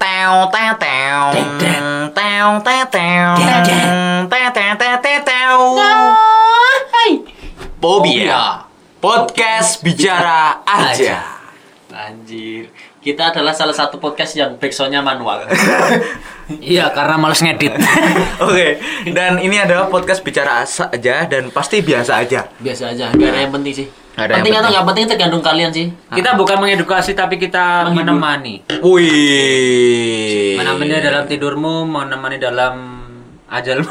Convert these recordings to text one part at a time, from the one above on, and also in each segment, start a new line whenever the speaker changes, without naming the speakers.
Teo teo teo. Teo teo teo. Teo teo teo teo teo.
Oh,
Iya.
iya.
Pobia. ya? Podcast bicara aja.
Anjir, kita adalah salah satu podcast yang backsoundnya manual.
Iya, karena males ngedit.
Oke, dan ini adalah podcast bicara asa aja dan pasti biasa aja.
Biasa aja, gak ada yang penting sih.
Gak ada yang
penting atau
penting.
nggak penting tergantung kalian sih. Ah. Iya.
kita bukan mengedukasi tapi kita menemani.
Wih.
Menemani dalam tidurmu, menemani dalam ajalmu.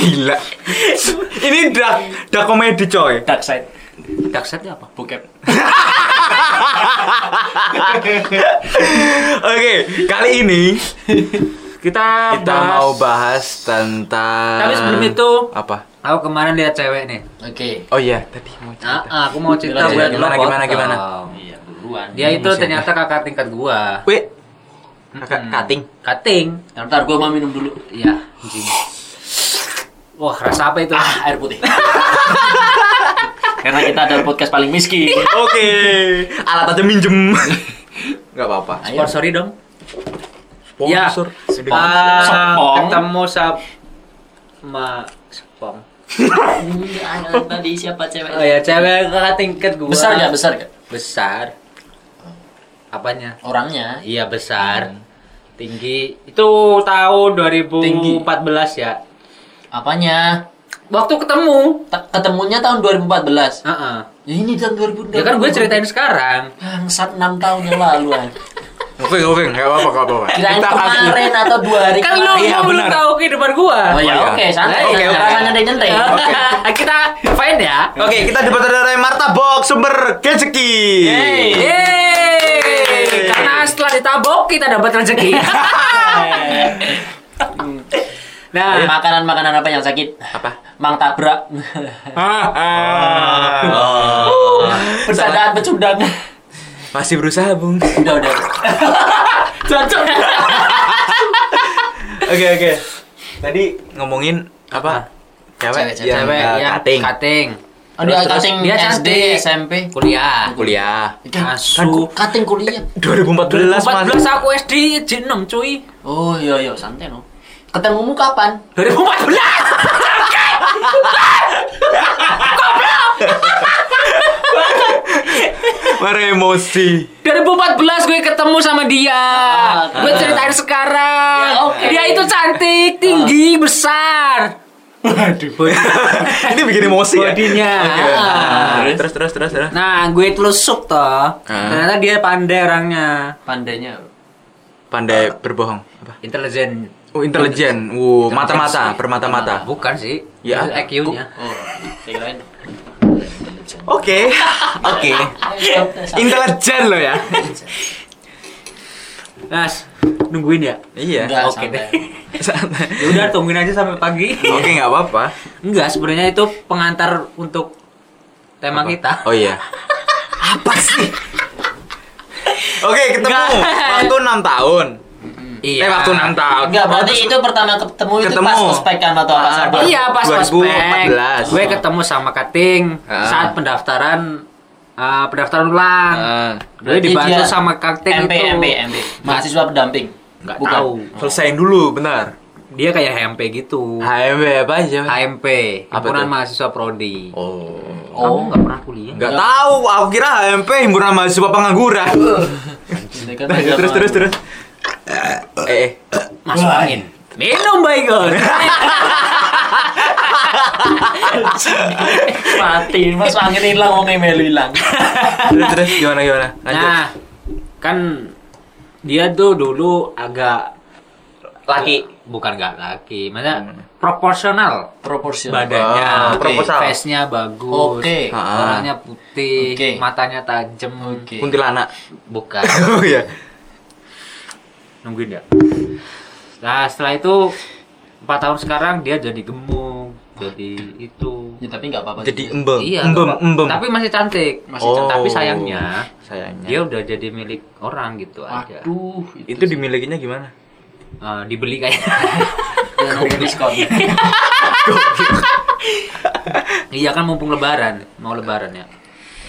gila. ini dak dak komedi coy.
Dark side,
Dark side apa?
bokep.
Oke, kali ini
Kita,
kita
bahas-
mau bahas tentang
Tapi sebelum itu-
apa?
Aku kemarin lihat cewek nih.
Oke.
Oh iya, tadi mau
Ah,
cerita.
ah, aku mau cerita
Gimana,
buat lo
gimana, gimana,
potong.
gimana?
Iya, duluan.
Dia itu ternyata kakak tingkat gua.
Wih. Kakak kating.
Kating.
Ya, Ntar gue mau minum dulu.
Iya, anjing. Wah, rasa apa itu?
Ah, air putih. Karena kita adalah podcast paling miskin.
Oke. Alat aja minjem. Enggak apa-apa.
Ayo.
Sponsori dong. Ya.
Sponsor.
Ah,
Sepong.
Ketemu sap ma sepong.
Tadi siapa cewek?
Oh ya, cewek kakak tingkat gua.
Besar gak? Besar gak?
Besar. Apanya?
Orangnya.
Iya besar.
Hmm.
Tinggi. Itu tahun 2014 ya.
Apanya?
Waktu ketemu.
Te- Ketemunya tahun 2014.
Heeh.
Ya ini tahun 2014.
Ya kan gue ceritain sekarang.
Bangsat 6 tahun yang lalu aja.
Oke, oke, enggak apa-apa, enggak apa-apa.
Kirain
akan-
kemarin atau dua hari
Kan lu
kemarin.
iya,
lu belum
benar.
tahu kehidupan gua.
Oh ya
Oh, iya.
oke, santai.
Oke, oke.
Jangan nyentai-nyentai.
Kita fine ya.
Oke, kita dapat dari Marta Box sumber rezeki.
Yeay.
Yeay. Karena setelah ditabok kita dapat rezeki.
Ayo,
Iya.
nah,
Makanan-makanan apa yang sakit?
Apa?
Mang tabrak.
Ah, ah. Oh.
Bercandaan pecundang.
Masih berusaha, Bung.
Udah, udah. Cocok.
Oke oke. Tadi ngomongin apa? Ah. Cewek,
Cewek,
yang,
cewek
eh,
yang
cutting.
cutting.
Oh,
Terus,
dia
terus,
cutting
dia
SD,
cantik.
SMP.
kuliah.
kuliah.
Asu.
kan Kating kuliah.
2014
2014 aku SD J6 cuy.
Oh, iya iya, santai no. Ketemumu kapan?
2014.
Mare emosi.
2014 gue ketemu sama dia.
Ah,
gue ceritain sekarang.
Ya, oke.
Dia itu cantik, tinggi, besar.
Ini bikin emosi ya.
Bodinya.
Oke.
Ah.
Terus terus terus terus.
Nah, gue telusuk toh. Ternyata dia pandai orangnya.
Pandainya.
Pandai berbohong. Apa?
Intelijen.
Oh intelijen. Ah, Wow mata-mata, permata-mata.
Bukan sih.
Ya.
Itu IQ-nya.
Oh, kirain.
Oke. Oke. Intelijen lo ya.
Nas, nungguin ya?
Iya.
Enggak,
oke
santai.
deh. Ya udah tungguin aja sampai pagi.
Oke nggak apa-apa.
Enggak, sebenarnya itu pengantar untuk tema kita.
Oh iya. Apa sih? Oke ketemu
Nggak.
waktu 6 tahun.
Iya.
Eh waktu 6 tahun.
Enggak, berarti
Waktu-
itu pertama ketemu, itu
Ketemu.
pas ospek kan atau apa?
Ah,
Sabar.
Iya, pas
2014.
2014. Gue ketemu sama Kating
Ah.
saat pendaftaran eh, pendaftaran ulang.
Ah.
Gue
Berarti
dibantu
dia
sama Kating
MP,
itu.
MP, MP. Mahasiswa pendamping.
Nggak
Bukan.
tahu.
Selesain dulu, benar.
Dia kayak HMP gitu.
HMB apa aja?
HMP,
Ah. Apa
himpunan
tuh?
mahasiswa prodi.
Oh.
Kamu
Oh,
nggak pernah kuliah?
Enggak tahu, aku kira HMP himpunan mahasiswa pengangguran.
Ini kan
Nah, terus
agama.
terus terus. Eh, eh.
Masuk angin. Minum baikon.
mati, mas angin hilang, wonge melu hilang.
terus terus gimana gimana? Lanjut.
nah, kan dia tuh dulu agak
Laki. Hmm.
bukan nggak laki, maksudnya proporsional
Proporsional.
badannya,
Ah, proposal.
face-nya bagus,
Oke. Ah.
orangnya putih,
Oke.
matanya tajam,
Oke.
Kuntilanak.
bukan
Oh iya.
nungguin ya. Nah setelah itu empat tahun sekarang dia jadi gemuk, jadi itu.
Ya, tapi nggak apa-apa.
Jadi
juga.
embem.
Iya,
embem,
nggak apa-
embem.
tapi masih cantik,
Masih
Oh.
cantik.
tapi sayangnya
sayangnya.
dia udah jadi milik orang gitu aja.
Ya. Waduh,
itu dimilikinya gimana?
eh, dibeli kayak
Dengan harga diskon.
iya kan mumpung lebaran mau lebaran ya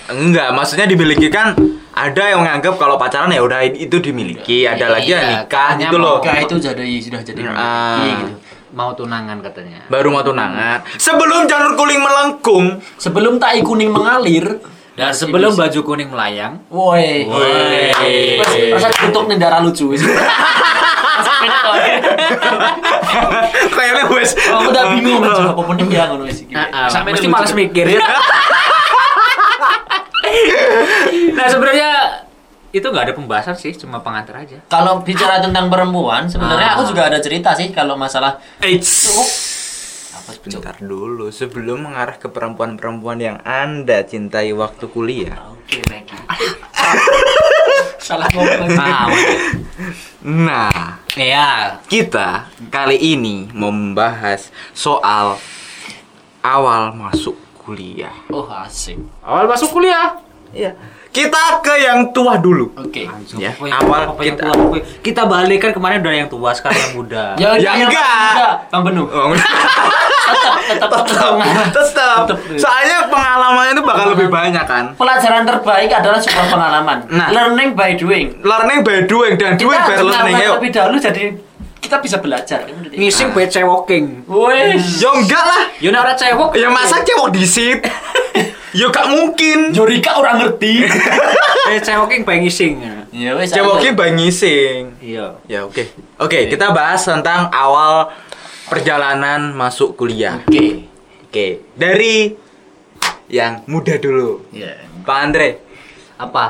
Enggak, maksudnya dimiliki kan ada yang menganggap kalau pacaran ya udah itu dimiliki, ada lagi yang
Iya,
nikah
katanya
gitu
mau
loh.
Enggak itu jadi sudah jadi
Ah.
memiliki gitu.
mau tunangan katanya
Baru mau tunangan. Sebelum janur kuning melengkung,
Sebelum tai kuning mengalir,
dan sebelum baju kuning melayang
woi.
Woi.
Masa tutup nih darah lucu.
kayaknya wes.
Aku
Oh,
udah bingung coba apa mending ya ngono wis iki.
Ah, ah,
Sampai
mesti
lucu. Iya.
malas mikir.
Iya.
nah sebenarnya itu nggak ada pembahasan sih cuma pengantar aja
Kalau bicara tentang perempuan, sebenarnya
Ah.
aku juga ada cerita sih kalau masalah
Eits.
apa sih, Cuk?
Bentar dulu, sebelum mengarah ke perempuan-perempuan yang Anda cintai waktu kuliah.
Oke, Maggie. Salah ngomong.
ah, oke.
Nah,
iya
kita kali ini membahas soal awal masuk kuliah.
Oh, asik.
awal masuk kuliah
Iya. Kita ke yang tua dulu.
Oke.
Ya,
Apa yang-
awal
apa yang
kita-
tua, apa yang- kita balikkan kemarin udah yang tua sekarang yang muda
Ya,
Ya,
yang
enggak.
enggak. Bang Benu. Tetap tetap tetap.
Tetap.
Tetep.
Nah, Soalnya pengalamannya itu bakal lebih banyak kan.
Pelajaran terbaik adalah sebuah pengalaman.
Nah.
Learning by doing.
Learning by doing dan doing by
harus
learning.
melakukan
Ayo.
lebih dahulu jadi kita bisa belajar. Kan, berarti.
ngising
nah.
buat cewoking
Wes.
Ya enggak lah.
ya nek ora cewok
Ya masa cewek disit? Ya gak mungkin.
Jurika orang ngerti.
eh cewoking pengen ngising
Ya wes.
Ceweknya bangising.
iya
Ya oke. Oke, kita bahas tentang awal perjalanan masuk kuliah. Oke.
Oke.
Dari yang muda dulu.
Ya.
Pak Andre.
apa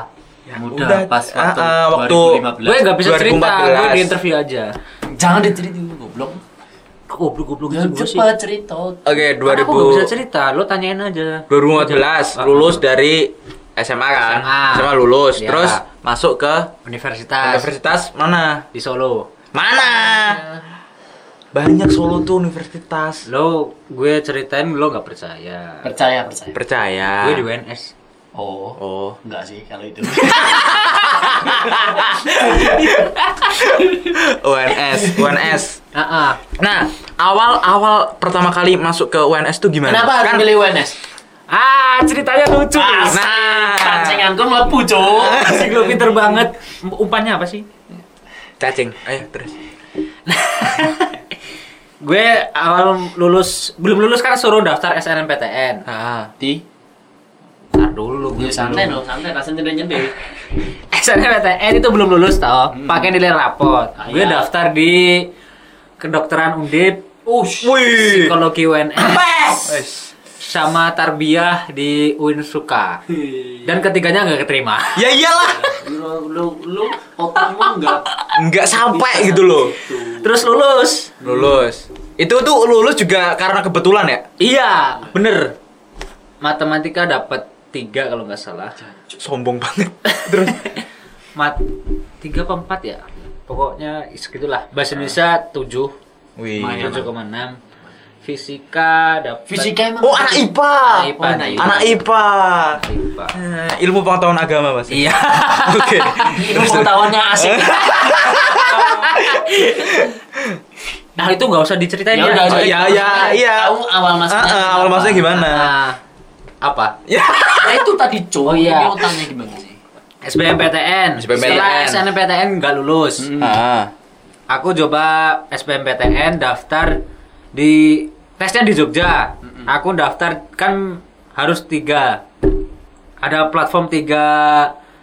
Ya,
Muda
udah,
pas waktu,
ah, ah, waktu-
2015.
gue nggak bisa cerita
2014.
gue di interview aja
Jangan diceritain goblok.
goblok goblok
Ya,
gitu sih
cepat cerita.
Oke,
Karena Kan aku nggak bisa
2000
cerita lo tanyain aja
2015 lulus dari SMA kan?
SMA.
SMA lulus,
Iya. Ah.
terus masuk ke
universitas
universitas mana?
di Solo
Mana? Banyak Solo tuh universitas.
lo gue ceritain lo nggak percaya
Percaya, percaya.
Percaya.
gue di UNS
Oh.
Oh.
Enggak sih kalau itu.
UNS, UNS.
ah ah.
Nah, awal-awal pertama kali masuk ke UNS tuh gimana?
Kenapa harus
Kan-
milih UNS?
ah ceritanya lucu
Ah,
nah
Nah,
Pancinganku mlebu, Cuk.
asik lo pinter banget umpannya apa sih
cacing. Ayo terus.
gue awal lulus belum lulus kan suruh daftar SNMPTN
Ah.
Di
Ntar dulu gue
Gue santai
dulu.
dong, santai rasanya nyender-nyender.
SNMPTN itu belum lulus tau pakai nilai rapot
Hmm. Ah,
gue
iya.
daftar di kedokteran undip
Ush.
Wih.
psikologi UNS
Pes.
sama tarbiyah di Uinsuka dan ketiganya nggak keterima
Ya iyalah,
lu lu lu otakmu enggak
nggak sampai gitu loh.
terus lulus
Lulus. Itu tuh lulus juga karena kebetulan ya.
iya
Bener.
matematika dapat tiga kalau nggak salah
Sombong banget. Terus
mat tiga apa empat ya pokoknya segitulah bahasa Indonesia tujuh
Iya,
Wih.
tujuh koma enam fisika dapat
Fisika emang
Oh, anak IPA.
Anak IPA,
anak
anak
Anak IPA.
IPA.
Eh, ilmu pengetahuan agama pasti.
iya
Oke.
Ilmu pengetahuannya asik.
nah itu nggak usah diceritain
Ya udah,
Oh,
aja.
ya ya iya.
Tahu awal masuknya
Ah, ah,
kenapa?
awal masuknya gimana?
Nah, apa
Ya.
Nah itu tadi, Cuk.
Oh, iya.
Ini otaknya gimana sih?
SBMPTN.
SBMPTN.
Setelah SNMPTN nggak lulus.
Ah.
Aku coba SBMPTN daftar di tesnya di Jogja. Aku daftar kan harus tiga. Ada platform tiga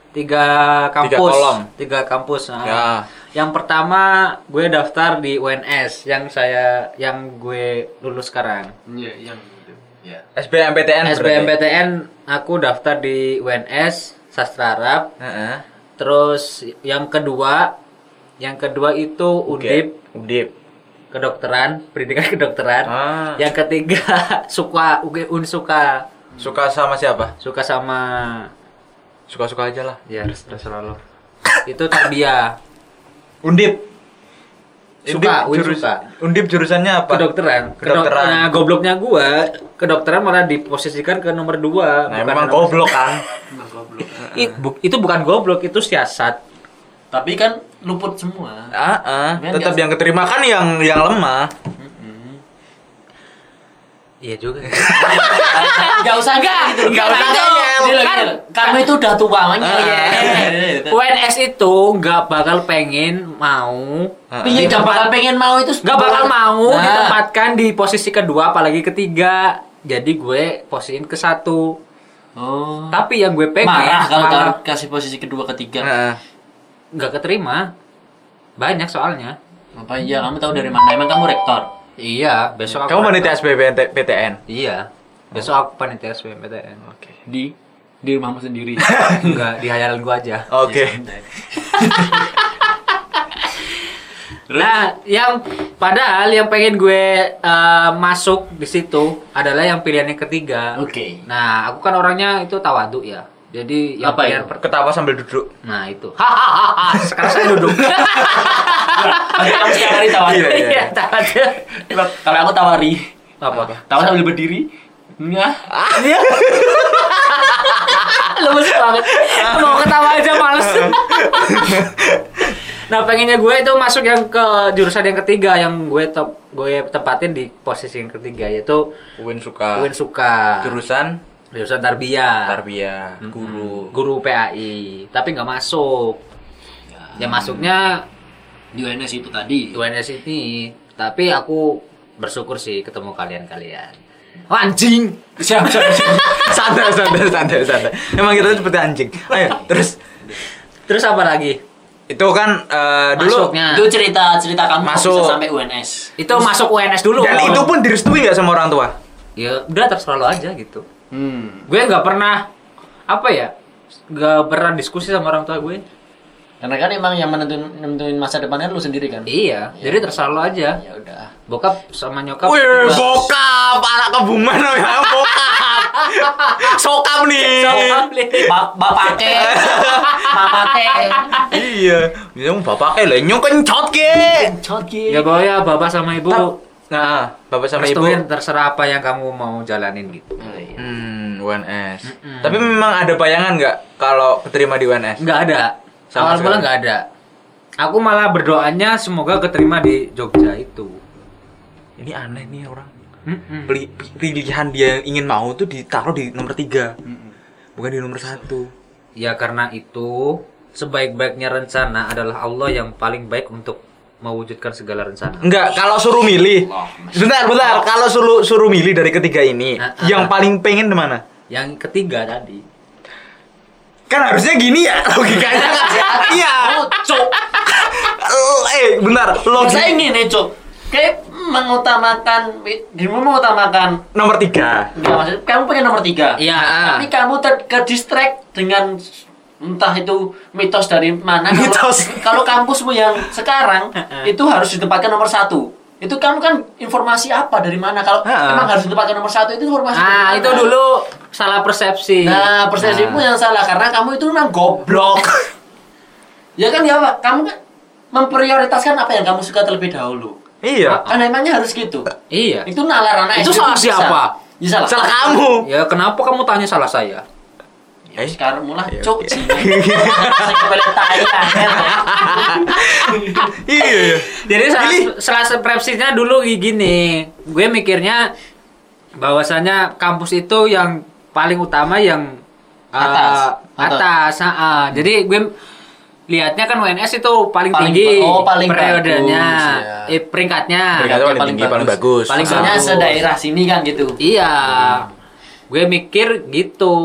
tiga kampus.
kolom.
Tiga kampus. nah.
Ya.
Yang pertama gue daftar di UNS yang saya yang gue lulus sekarang.
Iya, yang itu. Iya.
SBMPTN. berarti.
SBMPTN aku daftar di UNS Sastra Arab.
Heeh.
Terus yang kedua, yang kedua itu
E
Undip,
Udip.
kedokteran, pendidikan kedokteran.
Ah.
Yang ketiga suka UG Unsuka,
Suka sama siapa?
suka sama
Suka-suka aja lah.
ya terserah lo. itu tarbiyah
Undip.
Suka, Win
jurus-
suka.
Undip jurusannya apa?
kedokteran. Kedok-
Kedokteran.
Nah, gobloknya gua, kedokteran malah diposisikan ke nomor dua.
Nah,
bukan
memang
nomor-
Iya.
goblok kan.
Emang goblok.
I- bu- itu bukan goblok, itu siasat.
Tapi kan luput semua.
Ah, ah.
Biar
tetap
nggak-
yang keterima kan yang yang lemah.
Mm-mm.
Iya juga.
Gak usah enggak gitu.
Nggak usah
Karena
ngeyel.
itu- gini loh,
Kan-
gini loh. Kamu itu udah tua Iya, ngeyel. iya.
UNS itu nggak bakal pengen mau
Piye gak Iya. bakal pengen mau itu
nggak bakal mau
Nah.
ditempatkan di posisi kedua apalagi ketiga jadi gue posisin ke satu
Oh.
tapi yang gue pengen
marah kalau
malah
taruh- kasih posisi kedua ketiga.
Heeh.
nggak keterima banyak soalnya
Apa iya kamu tahu dari mana? Emang kamu rektor?
iya besok aku
Kamu panitia SBB PTN.
iya besok aku panitia SBMPTN
Oke.
Di di rumahmu sendiri.
nggak di hayalan gue aja
Oke.
Iya.
Nah, yang padahal yang pengen gue eh, masuk di situ adalah yang pilihan yang ketiga.
Oke.
Nah, aku kan orangnya itu tawadu ya. Jadi yang
Apa
pilihan
itu?
per-
Ketawa sambil duduk.
Nah, itu. Hahaha. Sekarang saya duduk.
Tapi kamu setiap hari tawar.
Iya, iya.
Iya, tawadu.
Kalau aku tawari,
Apa?
tawar sambil berdiri. Nah,
Iya.
Lemes banget. Mau ketawa aja males. nah, pengennya gue itu masuk yang ke jurusan yang ketiga yang gue tep- gue tempatin di posisi yang ketiga yaitu
Win suka.
Win Suka.
Jurusan
jurusan tarbiyah.
tarbiyah, guru.
guru PAI tapi nggak masuk ya masuknya
di UNS itu tadi.
UNS ini tapi aku bersyukur sih ketemu kalian kalian anjing
Siap, siap, siap.
santai, santai, santai, santai. Emang kita tuh seperti anjing. Ayo, terus
terus apa lagi
itu kan eh, dulu
masuknya
Itu cerita cerita kamu kok
Masuk.
bisa sampai UNS.
itu masuk UNS dulu
dan itu pun direstui nggak sama orang tua.
ya udah terserah lo aja gitu
Hmm.
gue nggak pernah apa ya nggak pernah diskusi sama orang tua gue
Karena kan emang yang menentuin menentuin masa depannya lu sendiri kan.
iya jadi terserah lo aja
Ya udah.
bokap sama nyokap
Wih, bokap, anak kebumen namanya bokap. Sokap nih.
Sokap, Li.
Ba bapake, mamake.
Iya, bilang bapak eh lenyong kencot ke.
Cot
ya bawa ya bapak sama ibu
Nah, bapak sama ibu.
restuin terserah apa yang kamu mau jalanin gitu
Oh, iya.
Hmm, UNS.
Mm-mm.
Tapi memang ada bayangan nggak kalau keterima di UNS?
Nggak ada.
Sama
Awal mula
sekali.
nggak ada. Aku malah berdoanya semoga keterima di Jogja itu.
Ini aneh nih orang. Peli- Mm. Pilihan dia yang ingin mau tuh ditaruh di nomor tiga, bukan di nomor satu.
Ya karena itu sebaik-baiknya rencana adalah Allah yang paling baik untuk mewujudkan segala rencana.
Enggak, kalau suruh milih. Sebentar, bentar. Kalau suruh suruh milih dari ketiga ini,
Ah, ah,
yang
ah.
paling pengen di mana?
Yang ketiga tadi.
Kan harusnya gini ya logikanya kan. Iya.
Oh, cok.
Eh, bentar.
Oh,
Logik
Saya ingin nih, cok. Kayak mengutamakan, dirimu mengutamakan
nomor tiga.
Enggak maksud, kamu pengen nomor tiga.
Iya.
Tapi kan kamu ter ke distract dengan entah itu mitos dari mana. Kalau-
Mitos.
Kalau kampusmu yang sekarang itu harus ditempatkan nomor satu. Itu kamu kan informasi apa dari mana? Kalau
Ha-ha.
emang harus ditempatkan nomor satu itu informasi.
Ah,
dari
itu
mana?
dulu salah persepsi.
kan Nah, persepsimu
Nah.
yang salah karena kamu itu memang goblok. ya kan ya, Pak? Kamu kan memprioritaskan apa yang kamu suka terlebih dahulu.
Iya.
Kan emangnya harus gitu.
Iya.
Itu nalar anak
Itu
SD
salah
bisa.
siapa?
Ya, salah.
Salah kamu.
Ya kenapa kamu tanya salah saya?
Ya, sekarang mulai
Ya,
cok
oke.
sih. Saya kembali tai angel.
Iya. iya.
Jadi salah,
Pilih.
salah persepsinya dulu gini, gue mikirnya bahwasanya kampus itu yang paling utama yang eh,
Atas.
atas. ah, ah. Jadi gue lihatnya kan UNS itu paling,
Paling-
tinggi
oh, paling
periodenya,
bagus, ya.
eh peringkatnya.
Peringkatnya paling tinggi, paling bagus.
Paling
Maksudnya
bagus.
sedaerah sini kan gitu.
Iya. Gue mikir gitu,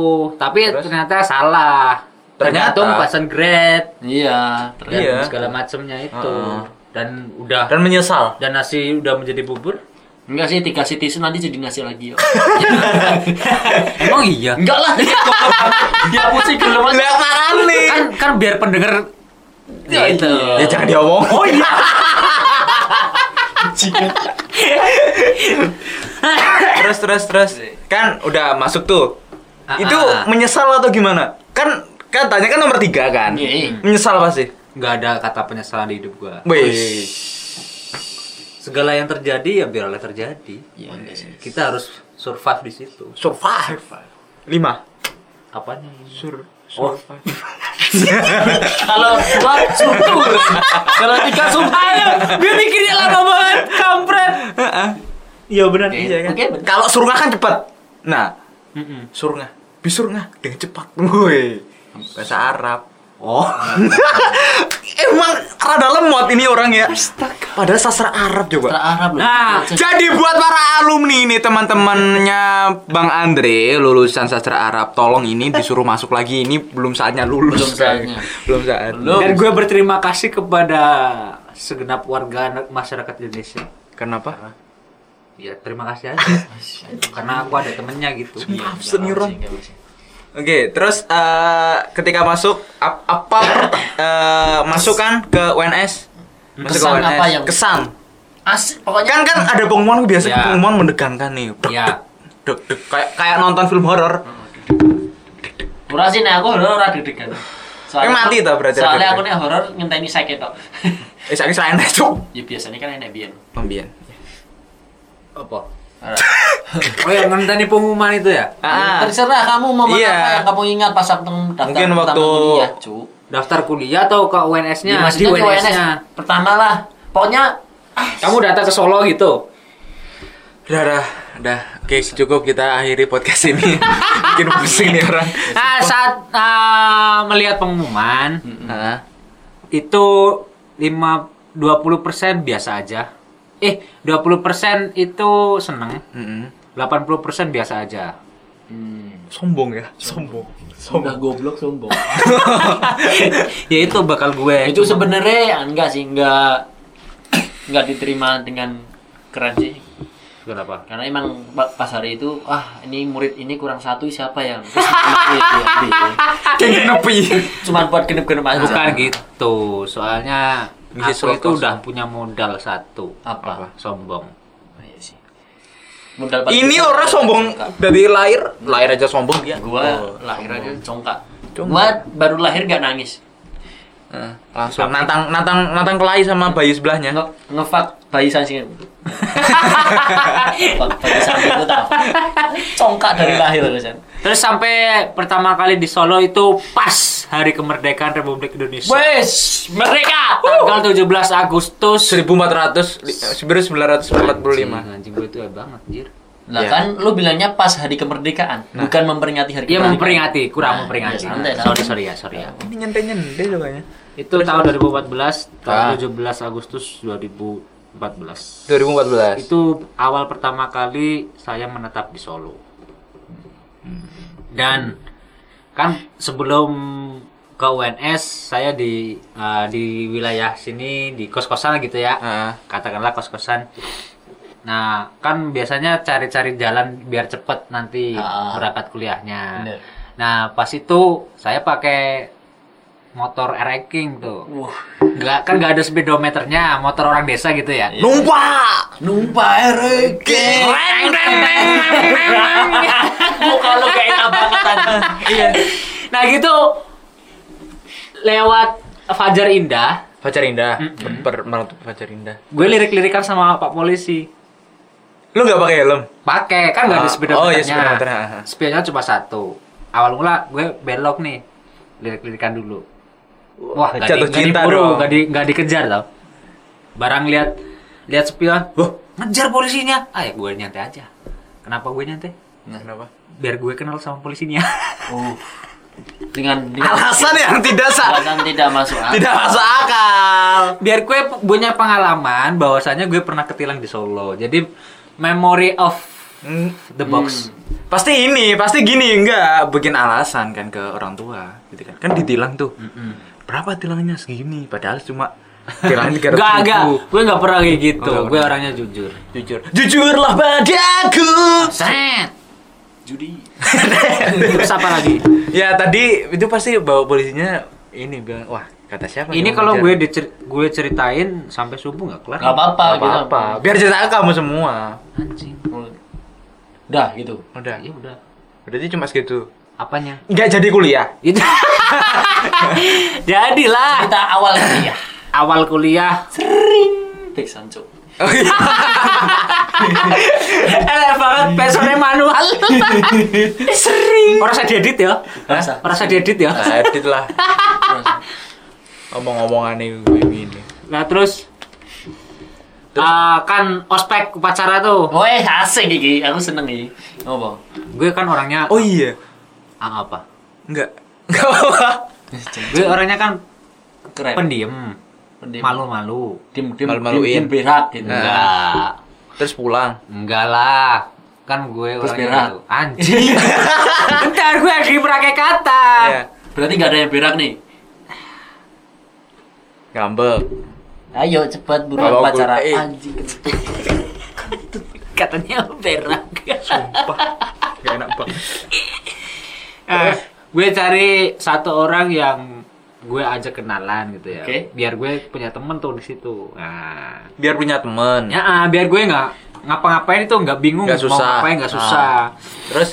tapi
Terus?
ternyata salah.
Ternyata.
Tergantung passing grade
Iya,
dan
Iya.
segala macemnya itu.
Heeh.
Dan udah
Dan menyesal.
dan nasi udah menjadi bubur
Enggak sih tiga citizen nanti jadi nasi lagi yo.
emang iya
Enggak lah. Ya pusing gelem aja.
Lah parah nih.
kan kan biar pendengar
Ya,
gitu
iya.
Ya jangan diomong. Oh iya. terus terus terus. Kan udah masuk tuh.
Ah,
Itu
ah.
menyesal atau gimana? Kan katanya kan nomor tiga kan.
Iya.
Menyesal pasti.
nggak ada kata penyesalan di hidup gua
Wih.
segala yang terjadi ya biarlah terjadi
Iya, enggak sih.
kita harus survive di situ
Survive. Lima.
apanya
Sur.
oh
Kalau dua syukur. Kalau tiga syukur.
Ayo, gue mikirnya lama banget, kampret.
Iya benar.
Oke,
Iya kan.
oke, benar.
Kalau surga kan cepat. Nah, surga. Bisurga dengan cepat. Woi. Bahasa Arab. Oh. Emang rada lemot ini orang ya. Padahal sastra Arab coba.
Sastra Arab loh.
Nah,
Jadi buat para alumni ini teman-temannya Bang Andre lulusan sastra Arab, tolong ini disuruh masuk lagi. Ini belum saatnya lulus.
Belum saatnya.
Belum saat.
Belum.
Dan gue berterima kasih kepada segenap warga na- masyarakat Indonesia.
Kenapa?
Ya terima kasih aja. Karena aku ada temennya gitu.
Iya,
Absen orang.
Oke, terus eh, ketika masuk ap- apa per- eh, masukan ke UNS?
Kesan apa yang-
kesan?
Asik pokoknya
Kan kan ada pengumuman biasa
Ya.
pengumuman mendegangkan nih. Dek,
Ya.
dek, dek, kayak kayak nonton film horor.
Ora sih nek aku horor ora deg-degan.
Eh, mati toh berarti deg-degan.
Soalnya aku nek horor ngenteni sakit tok.
Eh, sakit selain cuk.
Ya biasanya kan enak biyen.
Pembian.
Apa? Oh ya ngenteni pengumuman itu ya?
Ah,
Terserah kamu mau makan
Iya.
apa yang kamu ingat pas aku daftar
Mungkin
pertama
waktu-
kuliah, Cuk.
Daftar kuliah atau ke UNS-nya?
Ya,
Di
maksudnya di
UNS-nya.
UNS pertama lah. Pokoknya
Kamu datang ke Solo gitu.
udah, udah, udah. Oke, cukup kita akhiri podcast ini. Bikin pusing nih orang.
Nah, saat ah, melihat pengumuman ah,
Heeh.
itu 5 20% biasa aja. Eh, 20% itu seneng.
Mm-mm.
80% biasa aja.
Sombong ya, sombong.
udah goblok sombong.
ya itu bakal gue.
itu sebenarnya ya, enggak sih, enggak enggak diterima dengan keren sih.
kenapa?
Karena emang ba- pas hari itu, ah ini murid ini kurang satu siapa yang Terus dia- dia- dia.
Kayak nepi.
cuman buat genep-genep aja.
Bukan Kan gitu. Soalnya
Misi
aku itu
Solo kosong.
udah punya modal satu.
Apa?
Sombong.
Oh, iya sih. Modal paling
Ini
besar
orang
adalah
sombong
congkak.
dari lahir, lahir aja sombong dia.
Gua
Oh.
lahir aja congkak.
Congkak.
Gua baru lahir gak nangis.
Eh, langsung nantang nantang nantang kelahi sama bayi sebelahnya.
Nge ngefak bayi sansing. Ngefak bayi sansing itu tau. Congkak dari lahir kan.
Terus sampai pertama kali di Solo itu pas hari kemerdekaan Republik Indonesia.
Wes, mereka.
Tanggal 17 Agustus.
1400 li- 1945.
Anjing, anjing gue itu ya banget, anjir.
Lah
Ya.
kan lu bilangnya pas hari kemerdekaan, bukan memperingati hari
Iya
kemerdekaan.
memperingati, kurang
Nah,
memperingati.
iya, santai, santai.
sorry, sorry ya, sorry ya.
Ini nyentai-nyentai cobanya.
Itu tahun 2014,
Ah.
tahun 17 Agustus 2014.
2014.
Itu awal pertama kali saya menetap di Solo. Dan kan sebelum ke UNS saya di eh, di wilayah sini di kos-kosan gitu ya.
Heeh.
katakanlah kos-kosan. Nah, kan biasanya cari-cari jalan biar cepet nanti
Ah.
berangkat kuliahnya.
Bener.
Nah, pas itu saya pakai motor RX King tuh.
Wah,
Nggak, kan nggak ada speedometernya, motor orang desa gitu ya.
Iya.
Numpak.
numpah RG.
Reng, reng, reng, reng, reng, reng.
Oh,
Muka lu kayak enak banget tadi.
nah, gitu lewat Fajar Indah,
Pacar Indah. Per merantau Pacar Indah.
gue lirik-lirikan sama Pak Polisi.
Lu nggak pakai helm?
pakai kan nggak ada
Ah, oh
speedometernya
iya, speedometernya, ah.
Speednya cuma satu awal mula gue belok nih lirik-lirikan dulu wah nggak di,
jatuh
nggak
cinta
diburu
dong.
nggak di, nggak dikejar tau barang lihat lihat spion wah ngejar polisinya ah ya gue nyantai aja kenapa gue nyantai
Nah, kenapa?
biar gue kenal sama polisinya
Uh. Dengan dengan
Alasan yang tidak sa
alasan tidak masuk akal.
tidak masuk akal.
biar gue punya pengalaman bahwasanya gue pernah ketilang di Solo jadi memory of
Hmm,
the box
Pasti ini, pasti gini enggak bikin alasan kan ke orang tua gitu kan. Kan ditilang tuh. Berapa tilangnya segini padahal cuma tilang 300
Gak, gak,
ribu.
gue gak pernah kayak gitu.
Oh, nggak
gue
pernah.
orangnya jujur.
Jujur. Jujurlah padaku.
Set.
Judi.
Terus apa lagi?
Ya tadi itu pasti bawa polisinya ini bilang wah kata siapa?
Ini
yang ngejar?"
kalau gue dicer- gue ceritain sampai subuh nggak kelar.
Gak apa-apa
Nggak
gitu.
apa-apa. Biar cerita kamu semua.
Anjing.
Udah gitu.
Udah.
Ya udah.
Berarti cuma segitu.
Apanya?
Nggak jadi kuliah.
Itu. Jadilah
Kita awal ya.
awal kuliah.
Tik Sancho.
Oh, iya.
Elek banget pesannya manual. Sering. Orang saya diedit ya.
Rasa.
Orang saya diedit ya.
Nah, edit lah. omong-omongan ini gue gini
Nah terus, eh, kan ospek upacara tuh,
Woi, asik iki. Aku seneng iki. Ngopo?
gue kan orangnya
oh iya
Ah, apa?
enggak enggak apa
Gue orangnya kan
Keren.
pendiam,
Pendiam.
malu-malu.
Dim dim
Malu-maluin.
dim- dim berak gitu.
Enggak,
terus pulang
enggak lah. Kan gue
Terus
orangnya
berak.
gitu. Anjing. Bentar, gue lagi merakai kata.
ya
Berarti nggak ada yang berak nih.
ngambek
Ayo cepat
Kalau
buruan
aku-
pacaran.
eh.
Anjing.
Katanya berak.
gak enak banget
Eh, gue cari satu orang yang gue ajak kenalan gitu ya.
Oke.
Biar gue punya temen tuh di situ. Nah,
biar punya temen
ya ah, biar gue nggak ngapa-ngapain itu nggak bingung
Nggak susah.
mau ngapain nggak
Ah.
susah.
terus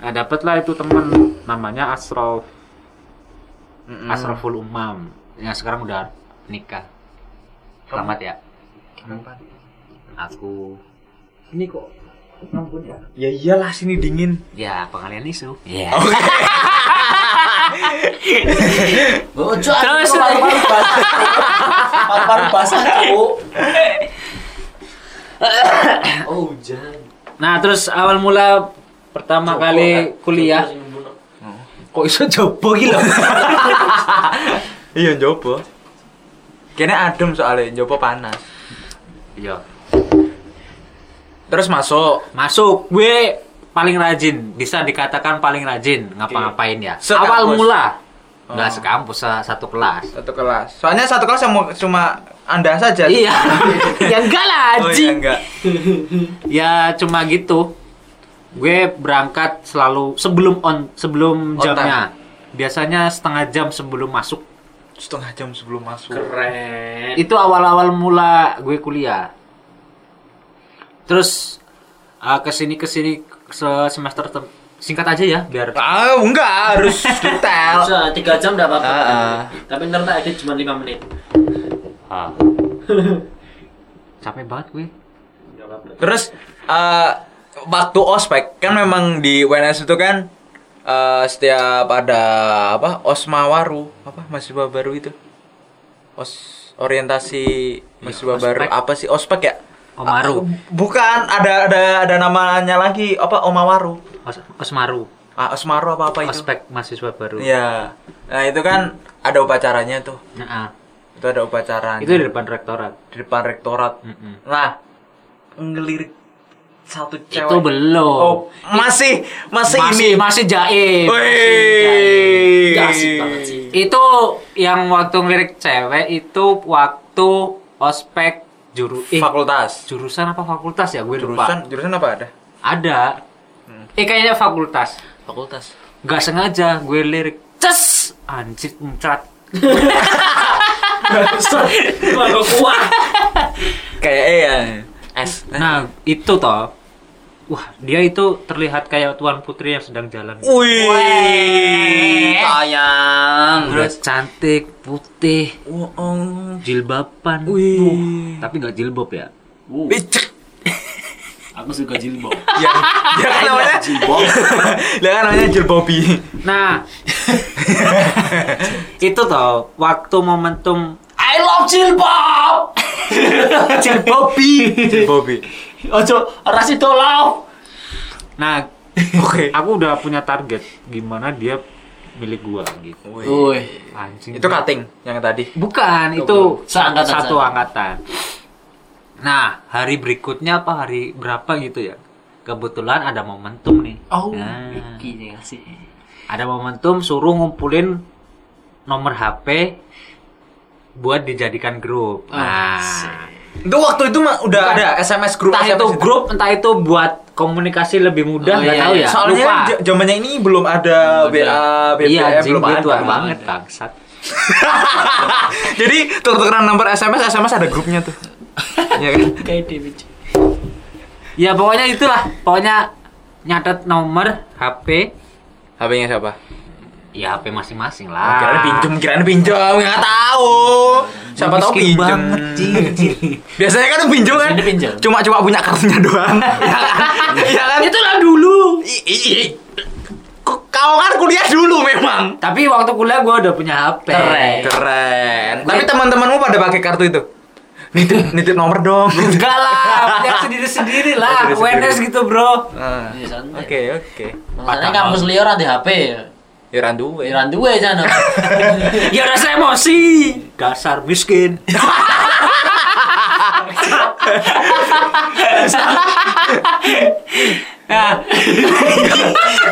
Nah, dapatlah itu temen namanya Asrof
mm-mm.
Asroful Umam yang sekarang udah nikah. Selamat ya. Aku ini kok ampun ya.
ya iyalah sini dingin
Ya, pengalian isu. Iya.
Oh, cok, aku
Terus.
kok paru-paru basah. Paru-paru basah, cuk. Oh, hujan.
Nah, terus awal mula pertama kali
kan?
kuliah kok iso jobo iki lho.
iya njopo kayaknya adem soalnya njopo panas
Iya.
terus masuk
Masuk gue paling rajin, bisa dikatakan paling rajin ngapa-ngapain ya.
Sekampus.
Awal mula
Oh.
enggak sekampus, se- satu kelas.
satu kelas soalnya satu kelas cuma, cuma anda saja
Iya. ya enggak
oh
lah,
iya
anjing.
enggak
Ya cuma gitu. Gue berangkat selalu sebelum on sebelum
On
jamnya. Biasanya setengah jam sebelum masuk.
setengah jam sebelum masuk
Keren.
Itu awal-awal mula gue kuliah. Terus eh, kesini kesini se- semester tem- singkat aja ya biar
ah enggak harus detail
Bisa, tiga jam enggak apa-apa.
Ah, ah.
Tapi ntar tak edit cuma lima menit.
capek banget gue.
Nggak apa-apa.
Terus eh, waktu ospek kan memang di UNS itu kan eh, setiap ada apa osmawaru apa mahasiswa baru itu os orientasi mahasiswa
Iya, ospek.
baru apa sih ospek ya? Ah,
Omaru.
bukan ada ada ada namanya lagi apa omawaru
Os- Osmaru,
Ah, osmaru apa apa itu?
ospek mahasiswa baru.
Iya. Nah itu kan ada upacaranya tuh.
Nah, ah.
Itu ada upacaranya.
itu di depan rektorat.
di depan rektorat.
Mm-mm.
Nah ngelirik satu cewek.
Itu belum.
Oh, masih masih, ini.
masih masih jaim.
Wih.
Gak asik banget sih.
Itu yang waktu ngelirik cewek itu waktu ospek juru eh,
Fakultas.
jurusan apa fakultas ya gue lupa.
Jurusan Hmm. jurusan apa ada?
Ada. Eh kayaknya fakultas.
Fakultas.
Gak sengaja gue lirik. Ces, anjir muncrat.
Kalau kuat.
Kayak eh ya. S.
Nah, itu toh. Wah, dia itu terlihat kayak tuan putri yang sedang jalan.
Wih.
Sayang.
Udah cantik, putih,
Wong.
jilbaban.
Oh, Wih.
Tapi nggak jilbab ya.
Bicek.
Aku suka jilbab.
Ya, ya kan namanya.
Jilbab.
Ya kan namanya Jilbobi.
Nah, itu toh waktu momentum
I love jilbab.
jilbabi.
Jilbobi.
Ojo rasi dolau.
Nah,
Oke.
aku udah punya target gimana dia milik gua gitu.
Wih.
Woi.
Anjing.
Itu cutting yang tadi.
Bukan, itu
Seangkatan,
satu angkatan.
seangkatan.
Nah, hari berikutnya apa hari berapa gitu ya? Kebetulan ada momentum nih.
Oh,
Nah,
iki nih asik.
ada momentum suruh ngumpulin nomor HP buat dijadikan grup. Nah,
Asik.
Itu waktu itu mah udah ada SMS grup.
entah
SMS
itu grup, entah itu buat komunikasi lebih mudah,
Oh,
nggak
iya,
tahu
iya.
ya.
Soalnya
Lupa.
j- zamannya ini belum ada
Belum ada.
BA, BBM
iya, anjing,
belum
gitu
ada. Ah,
banget, bangsat.
Jadi tuker-tukeran nomor SMS, SMS ada grupnya tuh. Iya kan?
Kayak Dewi. Cuk.
Ya pokoknya itulah, pokoknya nyatet nomor HP,
HP-nya siapa?
ya HP masing-masing
Oh,
lah.
kirain pinjem, kirain pinjem, nggak tahu. Siapa tahu
Miskin
pinjem.
banget, Cing, Cing.
Biasanya kan pinjem kan?
Biasanya pinjem.
Cuma cuma
Ya
punya kartunya doang. Iya kan? Iya kan?
Itulah dulu.
I- i- i- ku- kau kan kuliah dulu memang.
Tapi waktu kuliah gue udah punya HP.
Keren.
Eh,
Iya.
Keren. Tapi teman-temanmu pada pakai kartu itu. Nitip nitip nomor dong.
Enggak lah, punya sendiri-sendiri lah.
Sendiri-sendiri.
UNS gitu, Bro.
Ah.
Iya, santai.
Oke, oke.
Makanya kampus lior ada HP ya.
Yoran duwe.
Iya,
Iran duwe sana.
Ya udah saya emosi. Ya. Dasar miskin. nah,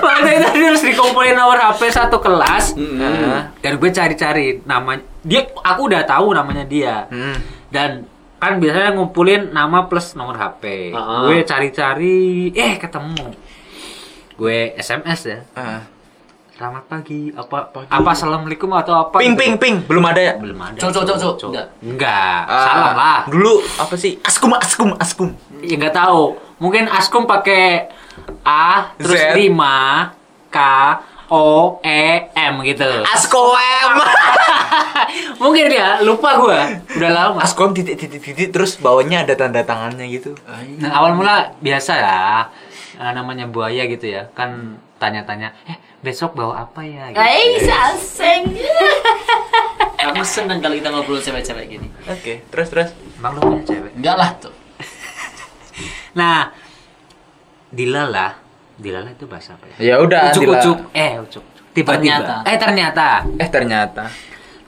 waktu itu dia harus dikumpulin nomor HP satu kelas. Nah,
Heeh.
Dan gue cari-cari namanya. Dia, aku udah tahu namanya dia.
Hmm.
Dan kan biasanya ngumpulin nama plus nomor HP.
Ah.
Gue cari-cari, eh ketemu. Gue SMS ya.
Ah.
Selamat pagi. Apa apa assalamualaikum atau apa?
Ping
gitu.
ping ping, belum ada ya?
belum ada.
Cuk, cuk, cuk, cuk.
Cuk.
Enggak.
Enggak.
Ah,
Salah lah.
Dulu apa sih? Askum askum askum.
Ya enggak tahu. Mungkin Askum pakai A terus
Z.
5 K O E M gitu.
Askom.
Mungkin dia lupa gua. Udah lama.
Askom titik titik titik terus bawahnya ada tanda tangannya gitu.
Nah, awal mula biasa ya. eh, namanya buaya gitu ya. Kan tanya-tanya, "Eh, besok bawa apa ya?" gitu.
Aku seneng kalau kita ngobrol cewek-cewek gini.
Oke, terus terus.
Emang lu punya cewek?
Enggak lah tuh.
Nah, dilala, dilala itu bahasa apa
Ya
ya?
udah, dilala.
ucuk-ucuk, eh ucuk. Tiba-tiba.
Ternyata.
Eh ternyata,
Eh ternyata.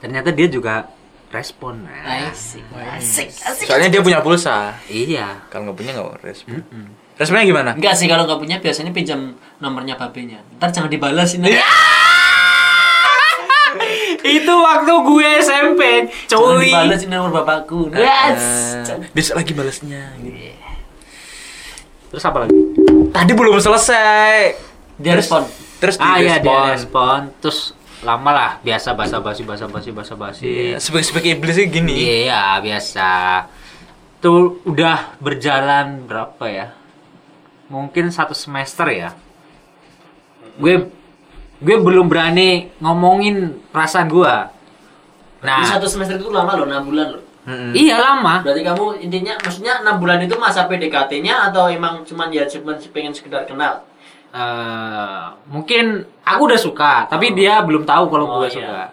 ternyata dia juga respon. Nah.
Asik. Asik. Asik.
Soalnya dia punya pulsa.
Iya.
Kalau nggak punya nggak respon. Responnya gimana?
Enggak sih kalau nggak punya biasanya pinjam nomornya babenya. Ntar jangan dibalasin. Ya.
itu waktu gue SMP,
Jangan
cuy.
dibalasin nomor bapakku. Nah. Yes.
Eh, besok lagi balesnya. gitu.
Terus apa lagi?
Tadi belum selesai.
Dia respon.
Terus
Ah iya
direspon.
dia respon, terus lama lah biasa basa-basi basa-basi basa-basi.
Iya, sebagai-sebagai iblisnya gini.
Iya biasa. Tuh udah berjalan berapa ya? Mungkin satu semester ya. Gue gue belum berani ngomongin perasaan gue.
Di
Nah,
satu semester itu lama loh, 6 bulan loh.
Mm-mm.
iya lama.
Berarti kamu intinya maksudnya 6 bulan itu masa PDKT-nya atau emang cuman ya cuman pengen sekedar kenal?
Eh, mungkin aku udah suka, tapi dia belum tahu kalau
Oh,
gue
iya.
suka.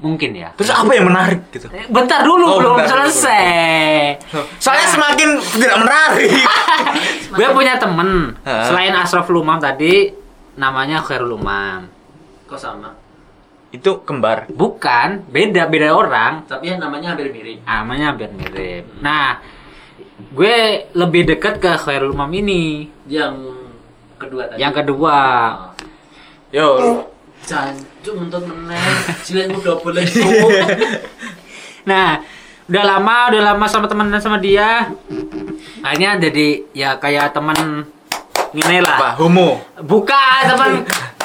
Mungkin ya.
Terus apa yang menarik gitu?
Eh, Bentar dulu
Oh,
belum
bentar dulu.
selesai.
Oh.
Soalnya
Nah.
Nah.
semakin tidak menarik.
gue punya temen
Heeh.
selain Asraf Lumam tadi namanya Khairul Umam.
Kok sama?
Itu kembar.
Bukan, beda beda orang.
Tapi ya namanya hampir mirip.
Namanya hampir mirip. Nah, gue lebih dekat ke Khairul Umam ini.
Yang kedua tadi.
Yang kedua,
Yo.
Jancuk untuk meneng. Jilidmu double itu.
nah udah lama udah lama sama temenan sama dia. Akhirnya jadi ya kayak temen ini lah.
Apa? Homo.
Bukan temen.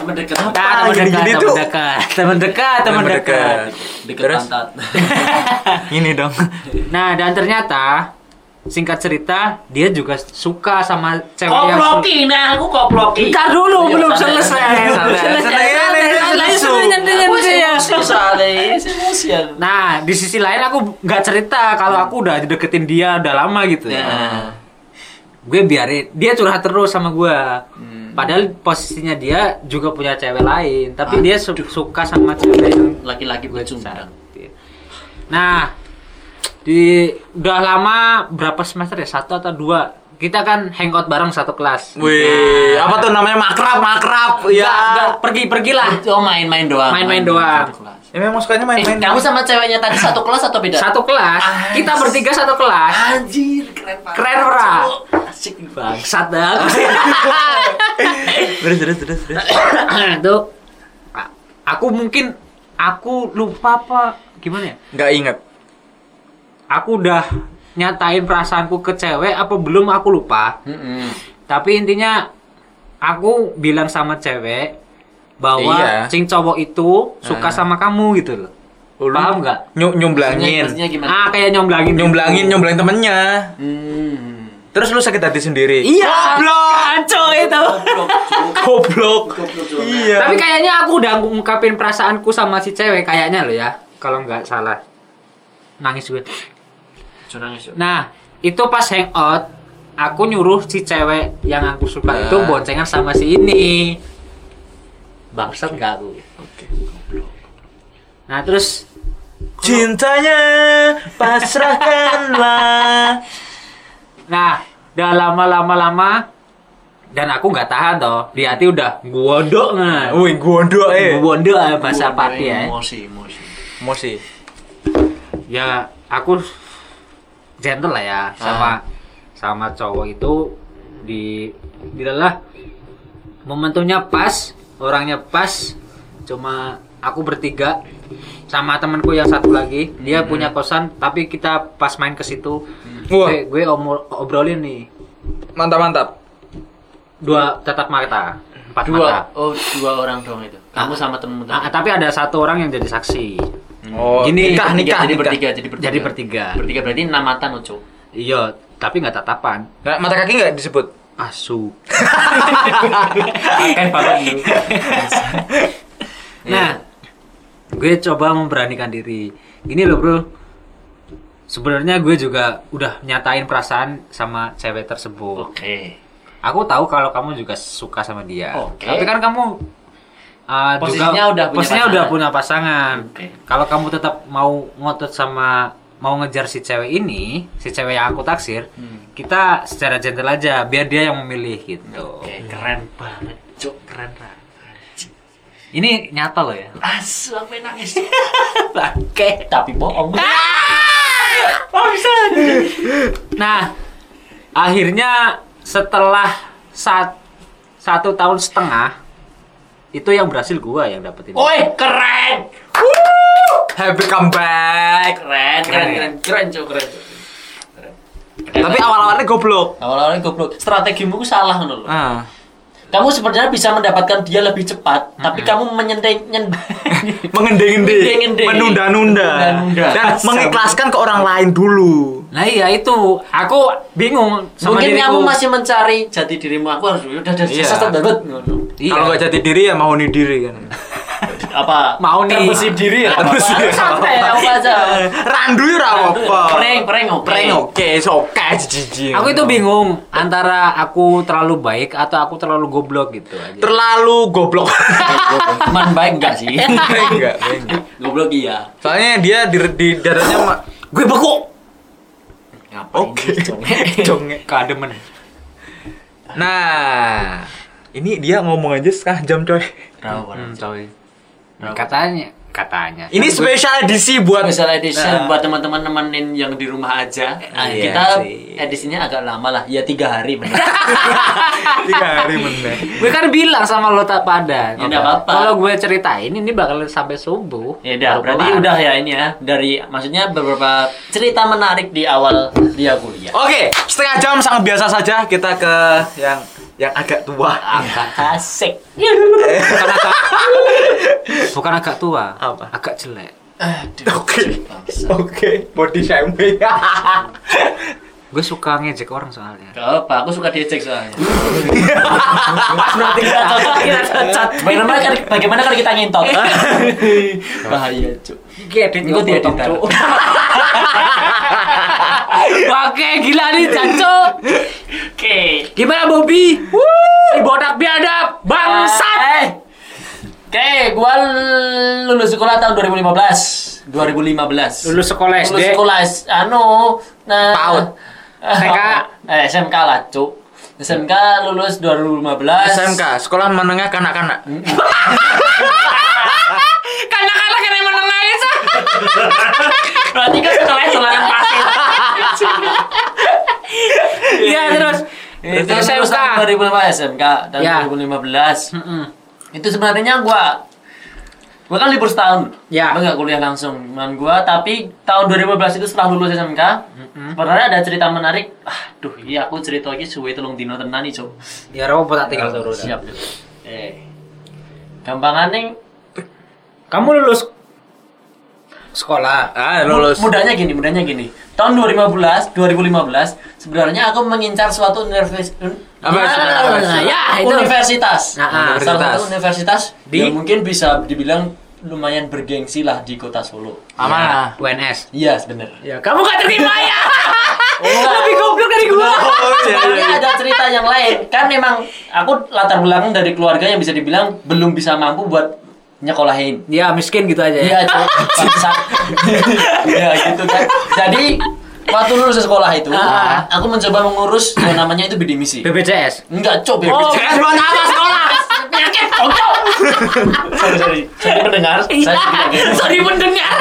Mendekat
Nah,
Apa?
temen dekat,
Gini-gini
temen
tuh.
dekat, temen dekat, temen
Yang
dekat.
Dekat
Terus?
pantat.
Ini dong.
Nah, dan ternyata singkat cerita dia juga suka sama cewek yang su-
Koploki, nah aku koploki.
Bentar dulu
Iya,
belum
santai,
selesai.
santai,
Belum
santai,
selesai,
santai,
santai,
santai,
santai,
langsung.
santai, santai,
Aku
santai,
emosi
ya.
soalnya, ini emosi ya.
Nah, di sisi lain aku nggak cerita kalau aku udah deketin dia udah lama gitu.
Nah.
Gue biarin dia curhat terus sama gue. Padahal posisinya dia juga punya cewek lain, tapi dia su- suka sama cewek yang
Laki-laki gue cuma.
Nah, di udah lama berapa semester ya? Satu atau dua? Kita kan hangout bareng satu kelas. Nah,
Wih, apa tuh namanya makrab, makrab.
Enggak, enggak,
Ya.
pergi-pergilah.
Oh main-main doang.
Main-main doang.
Satu kelas.
Ya memang sukanya
Eh,
main-main.
kamu sama ceweknya tadi satu kelas atau
Iya.
beda?
Satu kelas. Kita bertiga satu kelas.
Anjir, keren banget.
Keren, Ra.
Cuk, Asik banget.
Bangsat dah.
Terus terus terus terus.
Tuh. a- Aku mungkin aku lupa apa gimana ya?
Enggak ingat.
Aku udah nyatain perasaanku ke cewek apa belum aku lupa. Tapi intinya aku bilang sama cewek bahwa
Iya.
cing cowok itu suka sama kamu gitu loh.
Lu
Paham nggak?
nyu-
Maksudnya
nyumblangin.
gimana?
Ah kayak nyomblangin. gitu.
Nyumblangin, nyumblangin temennya.
Hmm.
Terus lu sakit hati sendiri.
Iya. Goblok. itu.
Goblok, Cuk.
Goblok.
Goblok, Cuk.
Iya.
Tapi kayaknya aku udah ngungkapin perasaanku sama si cewek kayaknya loh ya. Kalau nggak salah. Nangis gue.
Cuk, nangis, Cuk.
Nah, itu pas hangout aku nyuruh si cewek yang aku suka itu boncengan sama si ini.
bangsat nggak aku
Nah terus
Cintanya pasrahkanlah.
Nah, udah lama-lama-lama dan aku nggak tahan toh. Di hati udah gondok nah.
Wih, gondok eh.
Gondok eh, bahasa pati ya.
emosi emosi
Emosi.
Ya, aku gentle lah ya
Ah.
sama sama cowok itu di dilalah momentumnya pas, orangnya pas. Cuma aku bertiga sama temanku yang satu lagi, dia
Hmm.
punya kosan tapi kita pas main ke situ. Eh,
Wah.
Gue, gue omol- obrolin nih
Mantap mantap.
dua tatap mata empat mata
dua oh dua orang doang itu kamu sama temen
Ah,
temen
tapi ada satu orang yang jadi saksi
Oh,
Gini,
nikah nikah
jadi
nikah.
Hmm. bertiga Ya, jadi bertiga
jadi bertiga
bertiga berarti enam mata noco
iya tapi nggak tatapan
Nggak, mata kaki nggak disebut.
asu
kan banget lu
nah
Iya.
gue coba memberanikan diri gini loh bro sebenarnya gue juga udah nyatain perasaan sama cewek tersebut
oke
aku tahu kalau kamu juga suka sama dia
Oke.
tapi kan kamu uh, juga-
Posisinya udah punya
posisinya
pasangan.
udah punya pasangan
Oke.
kalau kamu tetap mau ngotot sama mau ngejar si cewek ini si cewek yang aku taksir
Hmm.
kita secara gentle aja biar dia yang memilih gitu
oke keren banget cok keren banget
ini nyata loh ya
asu aku nangis bangke tapi bohong Ah!
nah akhirnya setelah sat- satu tahun setengah itu yang berhasil gua yang dapetin
Woi, keren. Eh,
Happy comeback.
Keren, keren, keren, keren, cok, keren, cok. Keren. Iya.
Tapi awal-awalnya goblok.
awal-awalnya goblok. Strategimu ku salah ngono lho.
Ah.
Kamu sebenarnya bisa mendapatkan dia lebih cepat, tapi kamu menyenteng nyen
mengendeng-endeng,
Mengendeng-endeng.
menunda-nunda,
Menunda-nunda.
dan mengikhlaskan ke orang lain dulu.
nah iya itu aku bingung sama
Mungkin
diriku.
kamu masih mencari jati dirimu. Aku harus udah dari
Iya.
sesat banget ngono.
Iya.
Kalau nggak jati diri ya mau nih diri kan.
Apa
Mau nih.
terbesip diri ya?
Terus
Apa-apa. Santai apa aja.
Randu ya apa?
Prank, prank, oke.
prank oke, soke jijik.
Aku itu bingung antara aku terlalu baik atau aku terlalu goblok gitu aja.
terlalu goblok.
Teman baik enggak sih?
Prank nggak, prank nggak.
Goblok iya.
Soalnya dia di, di dadanya ma-
Gue beku.
Ngapain
Oke.
sih, Cok?
Jonge.
Kademen.
Nah, ini dia ngomong aja setengah jam coy.
Bravo, bravo.
coy. Katanya, katanya.
Ini special edisi buat Nah,
special edition buat teman-teman nemenin yang di rumah aja. Nah,
Iya
kita
sih.
edisinya agak lama lah, ya tiga hari benar.
tiga hari meneh.
Gue kan bilang sama lo tak padan.
Ya, nggak apa-apa.
Kalau gue ceritain ini bakal sampai subuh.
ya udah,
Baru
berarti
kelar.
udah ya ini ya dari maksudnya beberapa cerita menarik di awal dia kuliah.
Oke, setengah jam sangat biasa saja kita ke yang yang agak tua.
Agak asik.
Bukan agak, bukan agak tua.
Apa?
Agak jelek.
Aduh,
Oke.
bangsa.
Oke, body shaming.
Gue suka ngejek orang soalnya.
Gak apa, aku suka diejek soalnya. Berarti kita cocok, kita cocok. Bagaimana kan bagaimana kalau kita ngintot? Bahaya, Cuk.
Gedit
Itu dia Cuk.
Oke, gila nih Janco.
Oke.
Gimana Bobby? Si botak biadab, bangsat.
Eh. Oke, gua lulus sekolah tahun 2015. 2015.
Lulus sekolah SD.
Lulus sekolah S- anu nah
PAUD. TK.
eh, SMK lah, Cuk. SMK lulus 2015.
SMK, sekolah menengah kanak-kanak.
Kanak-kanak yang menengah itu.
Berarti kan sekolahnya sekolah pasir.
Iya terus.
Itu
Terus
lulus
SMK.
tahun 2015 SMK tahun
Ya.
2015.
Mm-mm.
Itu sebenarnya gua gua kan libur setahun.
Ya.
Gua nggak kuliah langsung. Cuman gua tapi tahun 2015 itu setelah lulus SMK, sebenarnya ada cerita menarik. Aduh, iya aku cerita lagi suwe telung dino tenan iki, Cuk.
Ya robo tak tinggal turun.
Siap. Cuk. Eh. Gampangane
Kamu lulus sekolah.
Ah,
Mud- Mudahnya gini, mudahnya gini. Tahun 2015, 2015 sebenarnya aku mengincar suatu universitas
Apa, apa, apa,
ya,
apa.
itu. universitas.
Nah, ah,
salah
universitas.
satu universitas
Di?
yang mungkin bisa dibilang lumayan bergengsi lah di kota Solo.
Amanah.
UNS.
Iya, bener.
Ya, kamu gak terima ya. Lebih goblok dari gua.
Oh, iya,
Sebenarnya
iya.
ada cerita cerita yang lain kan memang aku latar belakang dari keluarga yang bisa dibilang belum bisa mampu buat nyekolahin
Ya miskin gitu aja ya.
Iya, cowok bangsa. Iya, gitu kan. Jadi waktu lulus sekolah itu,
Ah.
aku mencoba mengurus yang namanya itu bidik misi.
BPJS.
Enggak, cok, BPJS.
Oh. buat apa sekolah?
Penyakit, cok, cok. Sorry, sorry. Sorry pendengar. Saya tidak
Iya,
gitu.
sorry mendengar.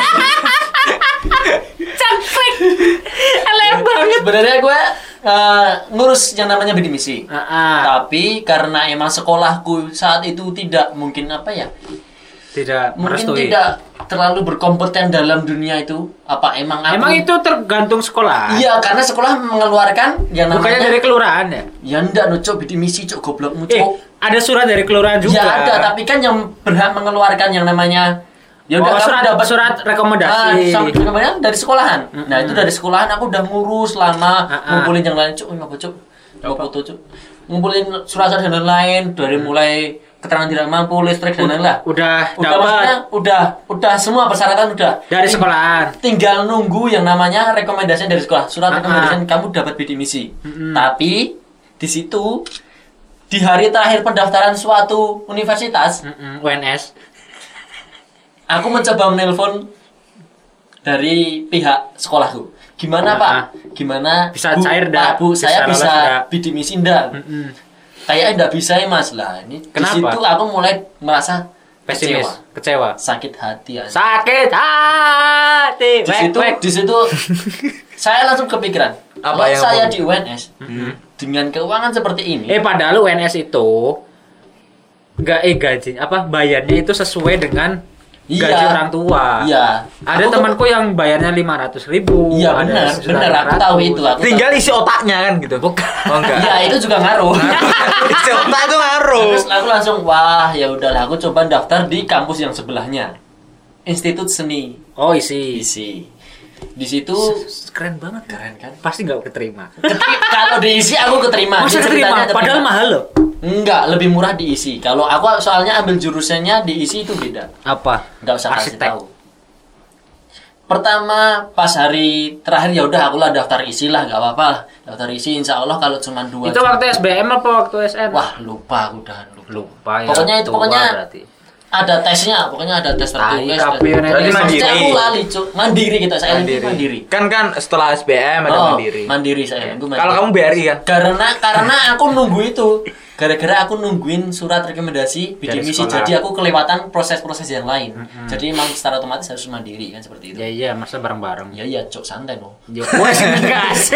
Cangkrik. Elem banget.
Sebenarnya gue eh, ngurus yang namanya bidik misi.
Ah,
Tapi karena emang sekolahku saat itu tidak mungkin apa ya,
Tidak
mungkin
merestui.
tidak terlalu berkompeten dalam dunia itu. Apa emang aku?
Emang itu tergantung sekolah.
Iya, karena sekolah mengeluarkan yang
Bukannya
namanya
dari kelurahan ya?
Ya ndak no cok, bidik misi cok goblokmu
Eh,
cok.
ada surat dari kelurahan juga.
ya ada, tapi kan yang berhak mengeluarkan yang namanya ya
Oh,
kamu
surat- surat rekomendasi.
Ah, sama namanya dari sekolahan. Nah, itu dari sekolahan aku udah ngurus lama
Mm-mm.
ngumpulin yang lain cok, ngapa cok? Mau foto cok. Ngumpulin surat-surat dan lain-lain
Mm.
dari mulai keterangan tidak mampu, listrik dan lain-lain.
Udah
Udah maksudnya
dapat
udah udah semua persyaratan udah.
dari sekolahan.
tinggal nunggu yang namanya rekomendasi dari sekolah surat
Ah,
rekomendasi kamu dapat bidik misi tapi di situ di hari terakhir pendaftaran suatu universitas
Mm-mm, UNS.
aku mencoba menelpon dari pihak sekolahku
Ah,
gimana pak
ah.
gimana
Bisa
Bu,
cair,
Pak,
ndak?
bu
Bisa
saya
lolos,
bisa
ndak?
bidik misi ndak
Mm-mm.
kayaknya ndak bisa ya mas lah ini di
Kenapa?
situ aku mulai merasa
Pesimis,
kecewa
kecewa.
sakit hati aja.
Sakit hati.
di
Wek,
situ
wek.
di situ saya langsung kepikiran
Apa
kalau
yang
saya
apa?
di UNS dengan keuangan seperti ini
Eh padahal UNS itu nggak eh gaji apa bayarnya itu sesuai dengan
Iya.
gaji orang tua.
iya
Ada
Aku tuh-
temanku yang bayarnya 500.000 ribu.
iya benar benar aku tahu itu aku tahu.
Tinggal isi otaknya kan gitu. Bukan. Oh enggak.
iya itu juga ngaruh
isi otak itu ngaruh.
terus aku langsung wah ya udahlah aku coba daftar di kampus yang sebelahnya Institut Seni
Oh isi.
isi di situ
Keren banget.
keren kan
Pasti nggak keterima.
Keti- kalau diisi aku keterima
Masa
Dia ceritanya
keterima? Padahal mahal loh.
enggak lebih murah diisi kalau aku soalnya ambil jurusannya diisi itu beda
Apa?
nggak usah kasih
Arsitek.
tahu pertama pas hari terakhir ya udah aku lah daftar isi lah nggak apa-apa lah daftar isi insya Allah kalau cuma dua
Itu waktu SBM apa waktu SN?
wah lupa aku udah lupa.
lupa ya.
Pokoknya itu-
tua
pokoknya
berarti.
ada tesnya pokoknya ada tes
Tai
tertulis
kape
dan-
nenek.
Berarti mandiri.
Maksudnya aku lali cuk mandiri kita saya mandiri, mandiri.
Kan kan setelah SBM ada
Oh,
mandiri.
saya aku mandiri.
Kalau kamu BRI kan?
karena karena aku nunggu itu gara-gara aku nungguin surat rekomendasi
Dari
bidik misi
sekolah.
jadi aku kelewatan proses-proses yang lain jadi emang secara otomatis harus mandiri kan seperti itu
Ya iya, masa bareng-bareng.
ya ya cuk santai dong
Ya, wes, gas.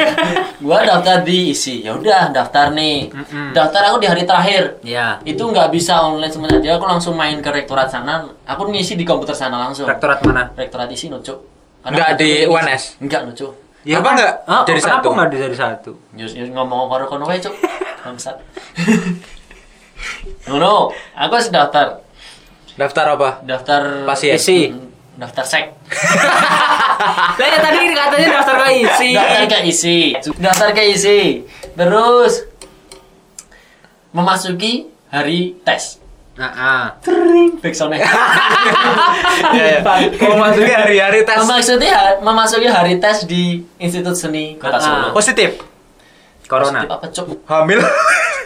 gua daftar di isi ya udah daftar nih daftar aku di hari terakhir
Ya.
itu nggak bisa online semuanya jadi aku langsung main ke rektorat sana aku ngisi di komputer sana langsung
Rektorat mana?
rektorat isi no cuk
Nggak di UNS?
enggak no cuk
Ya, apa enggak?
Oh,
Jadi
kenapa
satu.
nggak dari satu?
Yus, yus ngomong karo kono wae cuk bangsat no no aku harus daftar
Daftar apa?
daftar
Pasien.
Isi.
daftar sek Ah,
Lah ya tadi katanya daftar ke isi.
daftar ke isi daftar ke isi terus memasuki hari tes
Nah, ah.
back soundnya
Iya, iya. Memasuki hari-hari tes
memasuki ha- memasuki hari tes di Institut Seni Kota
Ah.
Solo
positif.
Corona.
Positif apa cuk
Hamil.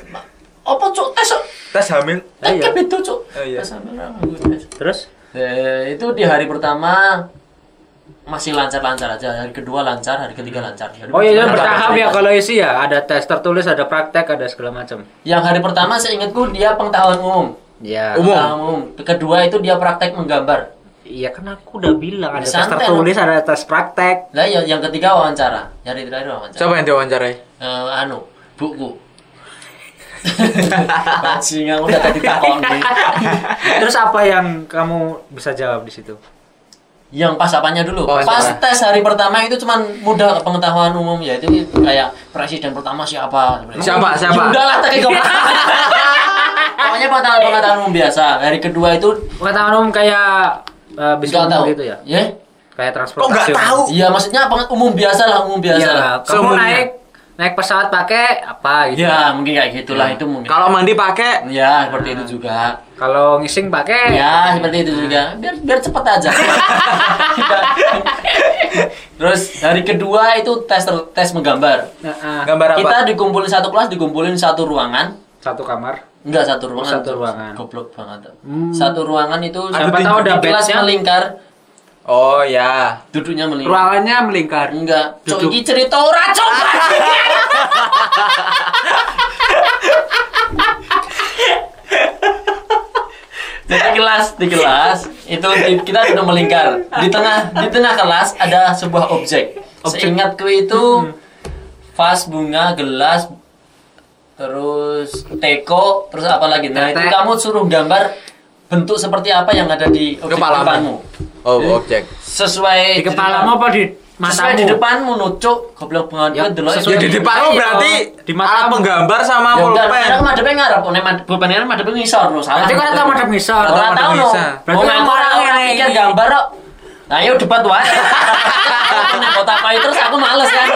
apa cuk tes cuk
tes hamil.
tes
Iya.
kan itu cuk
Oh, iya.
Tes ambil orang, gua tes.
Terus?
Eh, itu di hari pertama masih lancar-lancar aja hari kedua lancar hari ketiga lancar Hari
Oh iya, iya,
pertama
bertahap
lancar.
ya kalau isi ya. Ada tes tertulis, ada praktek, ada segala macam.
yang hari pertama seingatku dia pengetahuan umum
Ya.
Umum.
Pengetahuan umum kedua itu dia praktek menggambar
Iya kan aku udah bilang ada tes
Santai,
tertulis, ada tes praktek.
lah yang, yang ketiga wawancara yang hari terakhir wawancara
Siapa yang diwawancarai?
Eh, anu buku Bajingan udah tadi takon
Terus apa yang kamu bisa jawab di situ?
Yang pas apanya dulu?
Oh,
pas
entah.
tes hari pertama itu cuman mudah pengetahuan umum yaitu kayak presiden pertama siapa seperti itu.
Siapa? Siapa?
Ya udahlah tadi kau. Pokoknya pengetahuan pengetahuan umum biasa. Hari kedua itu
Pengetahuan umum kayak eh
nggak
bisnis
tahu
gitu ya.
Ya?
Kayak
Kok
transportasi.
nggak
umum.
tahu?
Iya, maksudnya pengen umum biasa lah, umum biasa.
Iya,
lah.
kamu
Seumumnya.
naik naik pesawat pakai apa gitu
Ya, mungkin kayak gitulah itu mungkin.
Kalau mandi pakai
ya seperti itu juga.
kalau ngising pakai
Ya, seperti itu juga. Biar biar cepat aja. Terus hari kedua itu tes tes menggambar.
Nah, ah,
gambar apa?
Kita dikumpulin satu kelas, dikumpulin satu ruangan.
satu kamar
Enggak satu ruangan.
Oh, satu ruangan.
Goblok banget. Satu ruangan itu
Siapa
di-
tahu ada
di kelas
bednya.
melingkar,
Oh
iya.
ya.
duduknya melingkar.
ruangannya melingkar
Enggak, cok
Duduk.
iki cerita ora cok. Jadi kelas di kelas itu di- kita sudah melingkar. Di tengah di tengah kelas ada sebuah objek. Hmm. Seingatku itu vas bunga gelas terus teko terus apa lagi nah itu
Tetek.
kamu suruh gambar bentuk seperti apa yang ada di objek
Kepalamu.
depanmu
Oh, objek.
sesuai
di kepalamu apa di matamu
Sesuai di depanmu nucuk goblok banget
Ya,
ya, delok
sesuai
Jadi di depan
Iya.
berarti
Di matamu.
alat penggambar sama
Ya enggak,
pulpen.
karena madhepe ngarep, nek mad- pulpennya kan madhepe ngisor lho, salah.
Berarti kok ora tau madhep ngisor.
Ora
Ora
tau
madhep
lho.
ngisor.
Berarti
Wong
yang
aku ora
orang
ora
yang-
mikir gambar kok. Nah, yuk debat wae. Nek kota kaya terus aku males kan.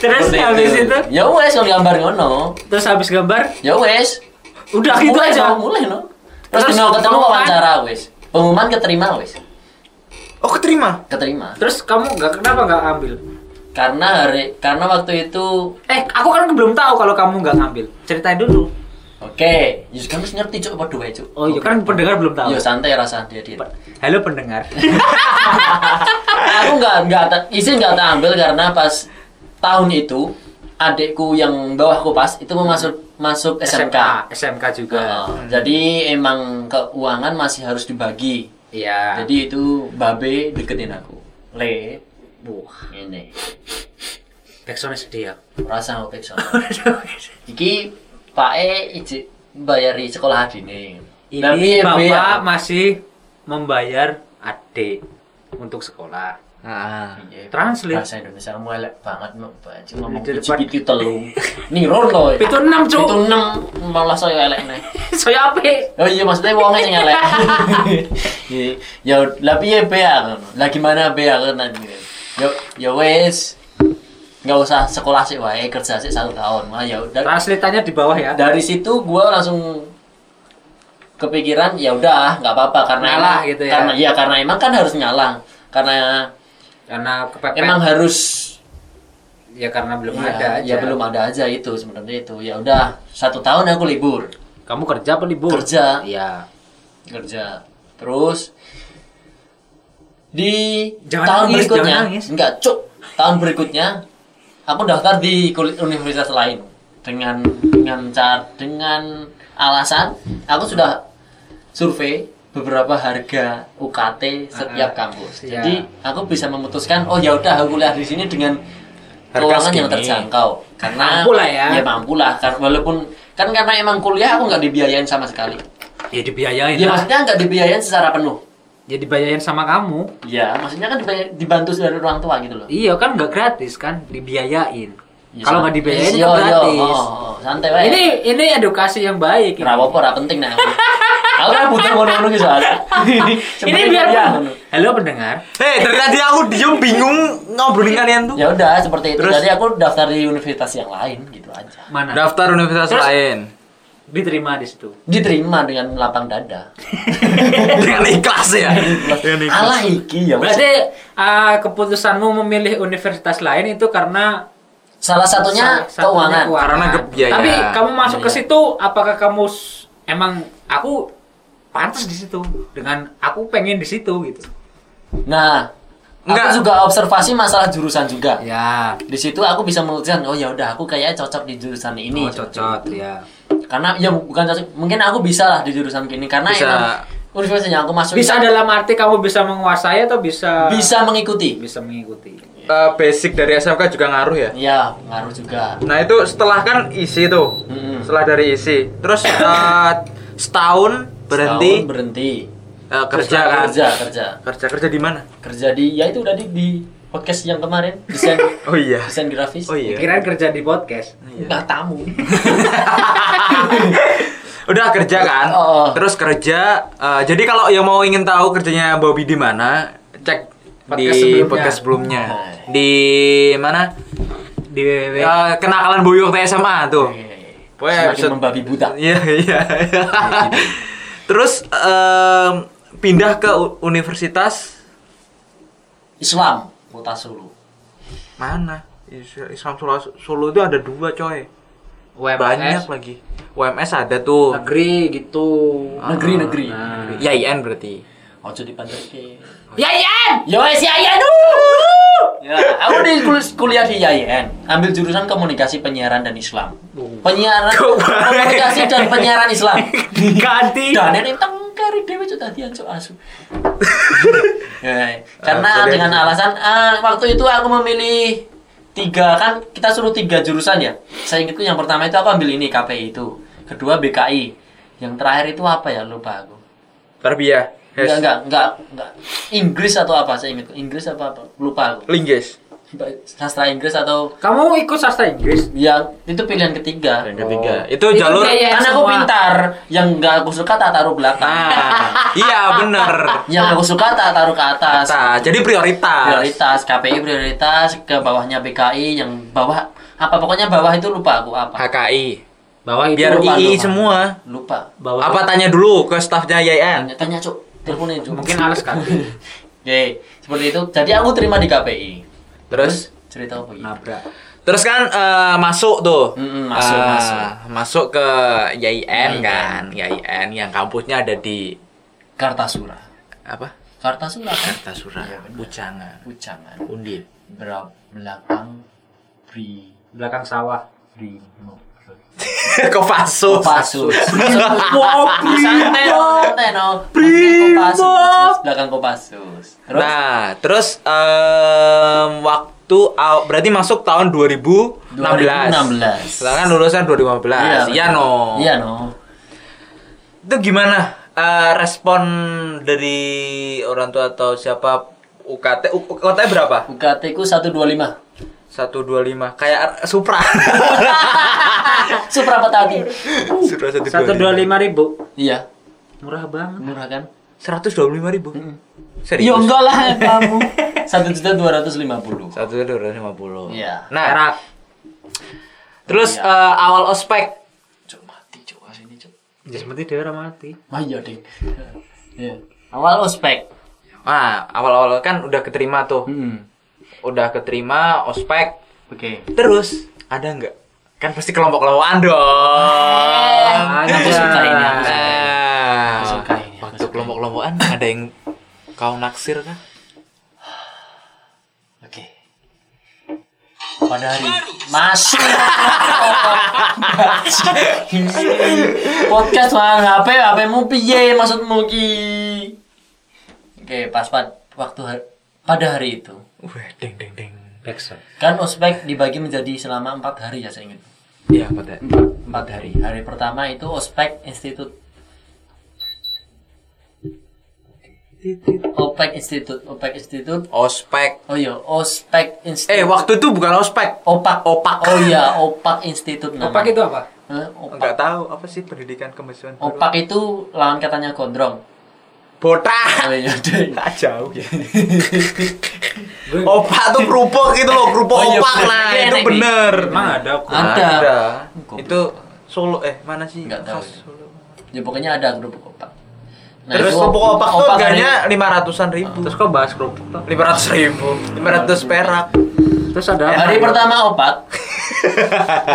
terus habis itu
Ya wes kalau gambar ngono.
terus habis gambar
Ya wes.
udah gitu
Mulai,
aja
no, mulai no. Terus
Terus
dino ketemu
pengumuman?
wawancara wes. Pengumuman keterima wes.
Oh, keterima.
Keterima.
terus kamu nggak kenapa nggak ambil
Karena hari karena waktu itu
eh aku kan belum tahu kalau kamu nggak ngambil ceritain dulu
Oke, Yus kan harus ngerti cuk apa dua cuk.
oh iya kan pendengar belum tahu
Yo santai rasa dia dia.
halo pendengar
aku nggak nggak ta- izin nggak tak ambil karena pas tahun itu adikku yang bawahku pas itu mau masuk masuk SMK.
SMK juga
Heeh. jadi emang keuangan masih harus dibagi.
iya
Jadi itu Babe deketin aku. Le,
wah
ini
backsoundnya sedih ya
rasa ngopek sono. Iki Pak E ijik bayari sekolah adine.
ini
Lah, piye, piye,
bapak
aku?
masih membayar adik untuk sekolah
Ah.
Iya,
Translate.
Bahasa Indonesia kamu elek banget mau baca ngomong
Di
cuci
depan.
pitu telu. Nirun loh.
Pitu enam, Cuk.
Pitu enam malah saya elek nih.
saya apa
Oh iya maksudnya wongnya yang elek. Iya, ya lah piye bea Lah gimana bea kan Ya ya wes. Enggak usah sekolah sih wae kerja sih satu tahun. Malah ya udah
translitanya di bawah ya
dari situ gua langsung kepikiran ya udah nggak apa-apa karena
Ngalah
emang-
gitu ya.
karena ya karena emang kan harus ngalah karena
karena kepepet
emang harus
ya karena belum
Iya,
ada aja
ya belum ada aja itu sebenarnya itu ya udah satu tahun aku libur
kamu kerja apa libur
Kerja.
iya
kerja terus di
Jangan
tahun
nangis,
berikutnya
jangan nangis.
enggak cuk tahun berikutnya aku daftar di kul- universitas lain dengan dengan cara dengan alasan aku sudah survei beberapa harga UKT setiap kampus
Iya.
jadi aku bisa memutuskan oh ya udah aku kuliah di sini dengan
Harga
keuangan yang
segini.
terjangkau karena
Mampu lah ya.
mampu lah Kar- walaupun kan karena emang kuliah aku nggak dibiayain sama sekali
ya dibiayain
ya
lah.
maksudnya nggak dibiayain secara penuh
ya dibayarin sama kamu
Iya, maksudnya kan dibay- dibantu dari orang tua gitu loh.
iya kan nggak gratis kan dibiayain
Ya,
Iya. kalau nggak
san-
dibiayain
Yo,
itu
yo,
gratis
oh, oh, santai wae.
ini ini edukasi yang baik
ora apa-apa, ora penting nah. aku. Aku kan butuh ngono-ngono ki soalnya.
ini
Sebenarnya
biar
iya,
pun-
ngono.
halo pendengar
Hei, Eh, dari tadi aku diem bingung ngobrolin kalian tuh.
Ya udah seperti itu.
Terus?
Jadi aku daftar di universitas yang lain gitu aja.
mana
Daftar universitas
Terus?
lain.
diterima di situ
Diterima dengan lapang dada.
Dengan ikhlas ya.
Alah iki ya.
berarti uh, keputusanmu memilih universitas lain itu karena
Salah satunya
salah satunya
keuangan.
Karena kebiayaan.
tapi kamu masuk ke
Iya.
situ apakah kamu s- emang aku pantas di situ dengan aku pengen di situ gitu
Nah,
Enggak.
aku juga observasi masalah jurusan juga.
ya
Di situ aku bisa memutuskan, oh ya udah aku kayaknya cocok di jurusan ini.
Oh,
ini cocot ya
karena ya bukan cocok mungkin aku bisa lah di jurusan gini karena
Bisa.
emang universitas yang aku masuk
bisa
itu
dalam arti kamu bisa menguasai atau bisa
bisa mengikuti
bisa mengikuti
Eh, basic dari SMK juga ngaruh ya.
ya ngaruh juga
Nah itu setelah kan isi tuh,
Mm-mm.
setelah dari isi, terus eh, setahun
Setahun
berhenti
berhenti
eh, kerja
Terus
kan?
kerja kerja
Kerja kerja di mana?
kerja di ya itu tadi di podcast yang kemarin desain
Oh iya.
desain grafis
Oh iya.
kira kerja di podcast
Nah, tamu
Udah kerja kan?
Oh.
Terus kerja. eh, jadi kalau yang mau ingin tahu kerjanya Bobby di mana, cek
di
sebelumnya.
podcast sebelumnya
Nah.
di mana
di WWW.
Eh, kenakalan boyok waktu SMA tuh Pokoknya
Semakin
episode-
membabi buta.
iya iya terus em, pindah ke u- universitas
Islam, Kota Solo.
mana Is- Islam Solo, Solo itu ada dua coy
UMS,
banyak lagi UMS ada tuh
negeri gitu
Negeri negeri.
IAIN Ya, berarti
Ojo di Pantai. Yayan! Yo wes Yayan. wuh! Ya, aku di kul- kuliah di Yayan, ambil jurusan komunikasi penyiaran dan Islam. Penyiaran komunikasi dan penyiaran Islam.
diganti
Dan ini tengkari dewe cok tadi yang cok asu. Ya, Karena
boleh.
dengan alasan ah, waktu itu aku memilih tiga kan kita suruh tiga jurusan ya. Saya ingatku yang pertama itu aku ambil ini KPI itu, kedua BKI, yang terakhir itu apa ya lupa aku.
Tarbiyah
Enggak, enggak, enggak, enggak. Inggris atau apa? Saya ingat. Inggris apa apa? Lupa aku.
Lingges
Sastra Inggris atau
kamu ikut sastra Inggris
ya itu pilihan ketiga. Oh.
yang ketiga Oh. itu
Itu
jalur
kayak-
Karena
Iya,
aku
semua.
pintar, yang enggak aku suka tak taruh belakang.
Nah, iya bener
yang aku suka tak taruh ke atas.
Nah, jadi prioritas
Prioritas KPI prioritas ke bawahnya PKI yang bawah apa pokoknya bawah itu lupa aku apa.
HKI
bawah itu
biar
lupa,
II
lupa.
semua
Lupa.
bawah
apa tanya dulu ke stafnya YN
Tanya, tanya cuk, teleponin cuk.
mungkin alas kan
Oke, seperti itu. Jadi aku terima di KPI.
terus
Cerita apa? Gitu.
nabrak
terus kan eh, masuk tuh
Mm-mm, masuk,
Eh,
masuk.
masuk ke YN kan YN yang kampusnya ada di
Kartasura.
apa
Kartasura kan?
Tasura
Iya, bener.
Pucangan
Ucangan.
Undip
Berap belakang pri
belakang sawah
primo.
Kopassus
Kopassus. Santai no, santai no. Kopassus. Belakang Kopassus. Terus
nah terus em, waktu aw- berarti masuk tahun 2016
2016.
Sedangkan kan lulusan 2015 iya no
Iya no.
itu gimana eh, respon dari orang tua atau siapa UKT U- UKT berapa
UKT ku 125.
125 kayak Supra
Supra Petati.
Supra
satu dua lima ribu
Iya,
murah banget
murah kan?
125 ribu serius
Ya enggak lah kamu. 1.250.
1.250
Iya.
nah
perak
terus eh, awal ospek
Cuk mati cuk sini cuk.
ya seperti dia orang mati
Wah iya deh. Iya. Awal ospek.
nah awal-awal kan udah keterima tuh
Hmm.
udah keterima ospek
Oke.
terus ada nggak kan pasti kelompok kelompokan dong
Aku suka ini, aku suka ini.
nah,
Aku suka ini, aku
waktu
suka
kelompok kelompokan ada yang kau naksir kah
Oke. Pada hari masuk podcast mang HP HP mu piye maksudmu ki? Oke, pas pad- waktu har- pada hari itu
Wah, ding ding ding.
backsound
kan ospek dibagi menjadi selama empat hari ya saya ingat
Iya, pada.
empat hari hari pertama itu ospek institut OPEC Institute, OPEC Institute,
Ospek.
oh iya, OSPEC Institute.
Eh, waktu itu bukan ospek.
Opak,
Opak.
Oh iya, opak institut namanya.
opak itu apa
Hah? opak.
Enggak tahu apa sih pendidikan kemahasiswaan. baru?
Opak itu lawan katanya gondrong.
Botak.
Oh iya, deh.
Tak jauh ya. opak tuh kerupuk gitu loh, kerupuk
Oh iya,
opak
bener.
lah.
Iya,
Itu
enak nih.
bener.
emang ada aku
Ada.
Ada.
Goblok.
Itu Solo eh mana sih?
Enggak tahu.
Khas Solo.
Ya pokoknya ada kerupuk opak. Nah,
Terus
itu
kerupuk opak tuh
hari-
harganya lima ratusan ribu.
terus kok bahas kerupuk toh?
Lima ratus ribu, lima ratus perak.
terus ada
Eh,
apa?
hari pertama opak.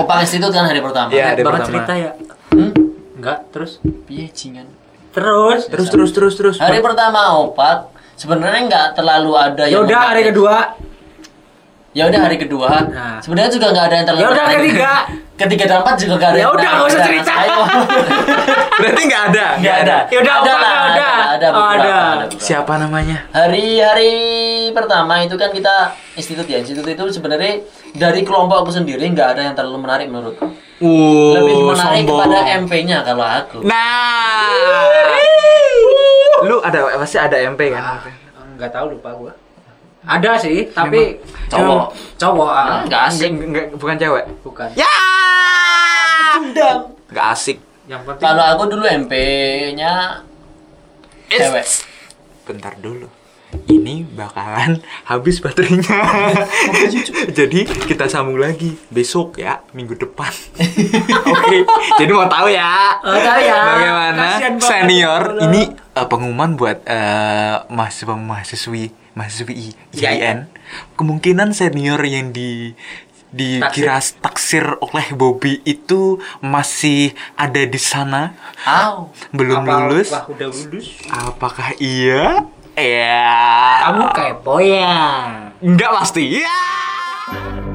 opak institut kan hari pertama.
Iya.
Banget
hari pertama.
cerita ya
Hmm?
enggak terus
Piye jingan.
terus
Terus terus terus terus.
Hari pertama opak sebenarnya nggak terlalu ada
ya
yang
udah hari
menarik.
kedua
Ya udah hari kedua.
Nah.
Sebenarnya juga nggak ada yang terlalu.
Ya udah,
menarik.
ketiga.
Ketiga dan empat juga nggak
Ya
ada. yang
udah,
menarik.
nggak usah
Nah,
cerita.
ayo.
Berarti nggak ada.
Enggak ada.
Ya udah,
ada
apa
lah,
nggak
ada.
ada?
Ada,
Oh,
beberapa,
ada.
beberapa.
Siapa namanya?
Hari-hari pertama itu kan kita institut ya. Institut itu sebenarnya dari kelompokku sendiri nggak ada yang terlalu menarik menurutku.
Uh,
Lebih menarik kepada MP-nya kalau aku.
Nah. Lu ada pasti ada MP kan?
enggak tahu lupa gua ada sih tapi
Cowok.
cowok ah.
Ah, nggak asik.
Enggak, bukan cewek.
bukan
Ya. Enggak asik.
yang penting
Kalau aku dulu MP-nya
It's-
cewek.
Bentar dulu. ini bakalan habis baterainya. jadi kita sambung lagi besok ya, minggu depan. Oke, jadi mau tahu ya.
Mau tahu ya.
Bagaimana
Kasian banget.
senior ini eh, pengumuman buat eh, mahasiswa mahasiswi
Iya,
mahasiswi IAIN. Kemungkinan senior yang di dikira taksir oleh Bobby itu masih ada di sana
Au.
belum
Apa-
lulus
Wah, udah lulus.
apakah iya ya
Kamu kepo ya.
nggak pasti ya